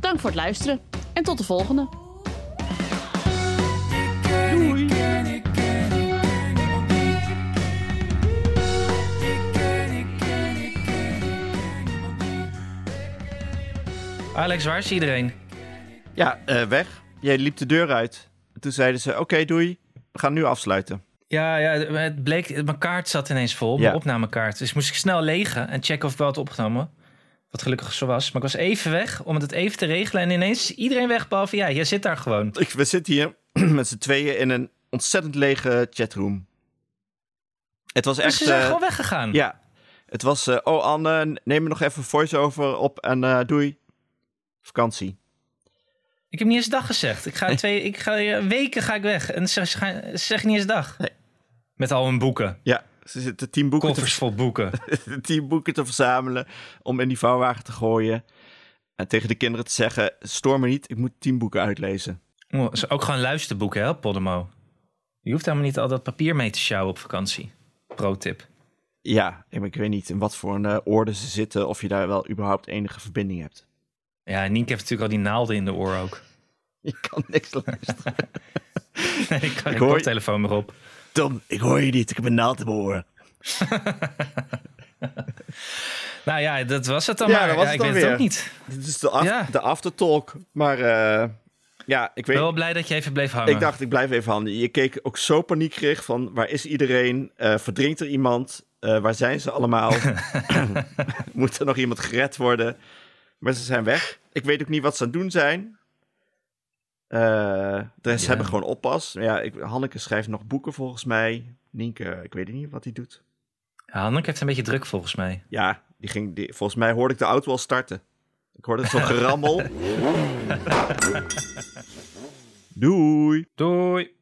Dank voor het luisteren en tot de volgende.
Ik ken, ik ken, ik ken niemand die. Ik ken, ik ken, ik ken, ik ken niemand die.
Alex, waar is iedereen?
Ja, eh, weg. Jij liep de deur uit. En toen zeiden ze, oké, doei, we gaan nu afsluiten.
Ja, ja, het bleek, mijn kaart zat ineens vol, mijn
Ja.
opnamekaart. Dus moest ik snel legen en checken of ik wel had opgenomen. Wat gelukkig zo was. Maar ik was even weg om het even te regelen. En ineens is iedereen weg, behalve jij. Jij zit daar gewoon.
Ik, we zitten hier met z'n tweeën in een ontzettend lege chatroom. Het was
Dus
echt...
ze zijn
eh,
gewoon weggegaan.
ja, het was, eh, oh Anne, neem er nog even voice-over op en eh, doei. Vakantie.
Ik heb niet eens dag gezegd. Ik ga eh, twee, ik ga, weken ga ik weg. En ze, ze, gaan- ze zeggen niet eens dag.
Nee.
Met al hun boeken.
Ja, Ze zitten tien boeken,
Koffers
te,
vol boeken.
tien boeken te verzamelen om in die vouwwagen te gooien. En tegen de kinderen te zeggen, stoor me niet, ik moet tien boeken uitlezen.
Oh, ze- ook gewoon luisterboeken, hè, op Podemo. Je hoeft helemaal niet al dat papier mee te sjouwen op vakantie. Pro tip.
Ja, maar ik weet niet in wat voor een eh, orde ze zitten, of je daar wel überhaupt enige verbinding hebt.
Ja, Nienke heeft natuurlijk al die naalden in de oor ook.
Je kan niks luisteren.
Nee, ik kan
Ik
ik
hoor-
hoor... telefoon maar op.
Tom, ik hoor je niet, ik heb een naald in mijn oren.
Nou ja, dat was het dan
Ja,
maar.
dat was
ja,
het
ik
dan
weet
weer.
het ook niet.
Dit is de, af,
Ja.
de aftertalk. Maar eh, ja, ik
Ik
weet
ben wel blij dat je even bleef hangen.
Ik dacht, ik blijf even handen. Je keek ook zo paniekerig van, waar is iedereen? Eh, verdrinkt er iemand? Eh, waar zijn ze allemaal? Moet er nog iemand gered worden? Maar ze zijn weg. Ik weet ook niet wat ze aan het doen zijn. Eh, de rest
Ja.
hebben gewoon oppas. Ja, ik, Hanneke schrijft nog boeken volgens mij. Nienke, ik weet niet wat hij doet.
Ja, Hanneke heeft een beetje druk volgens mij.
Ja, die ging, die- volgens mij hoorde ik de auto al starten. Ik hoorde zo'n gerammel. Doei!
Doei.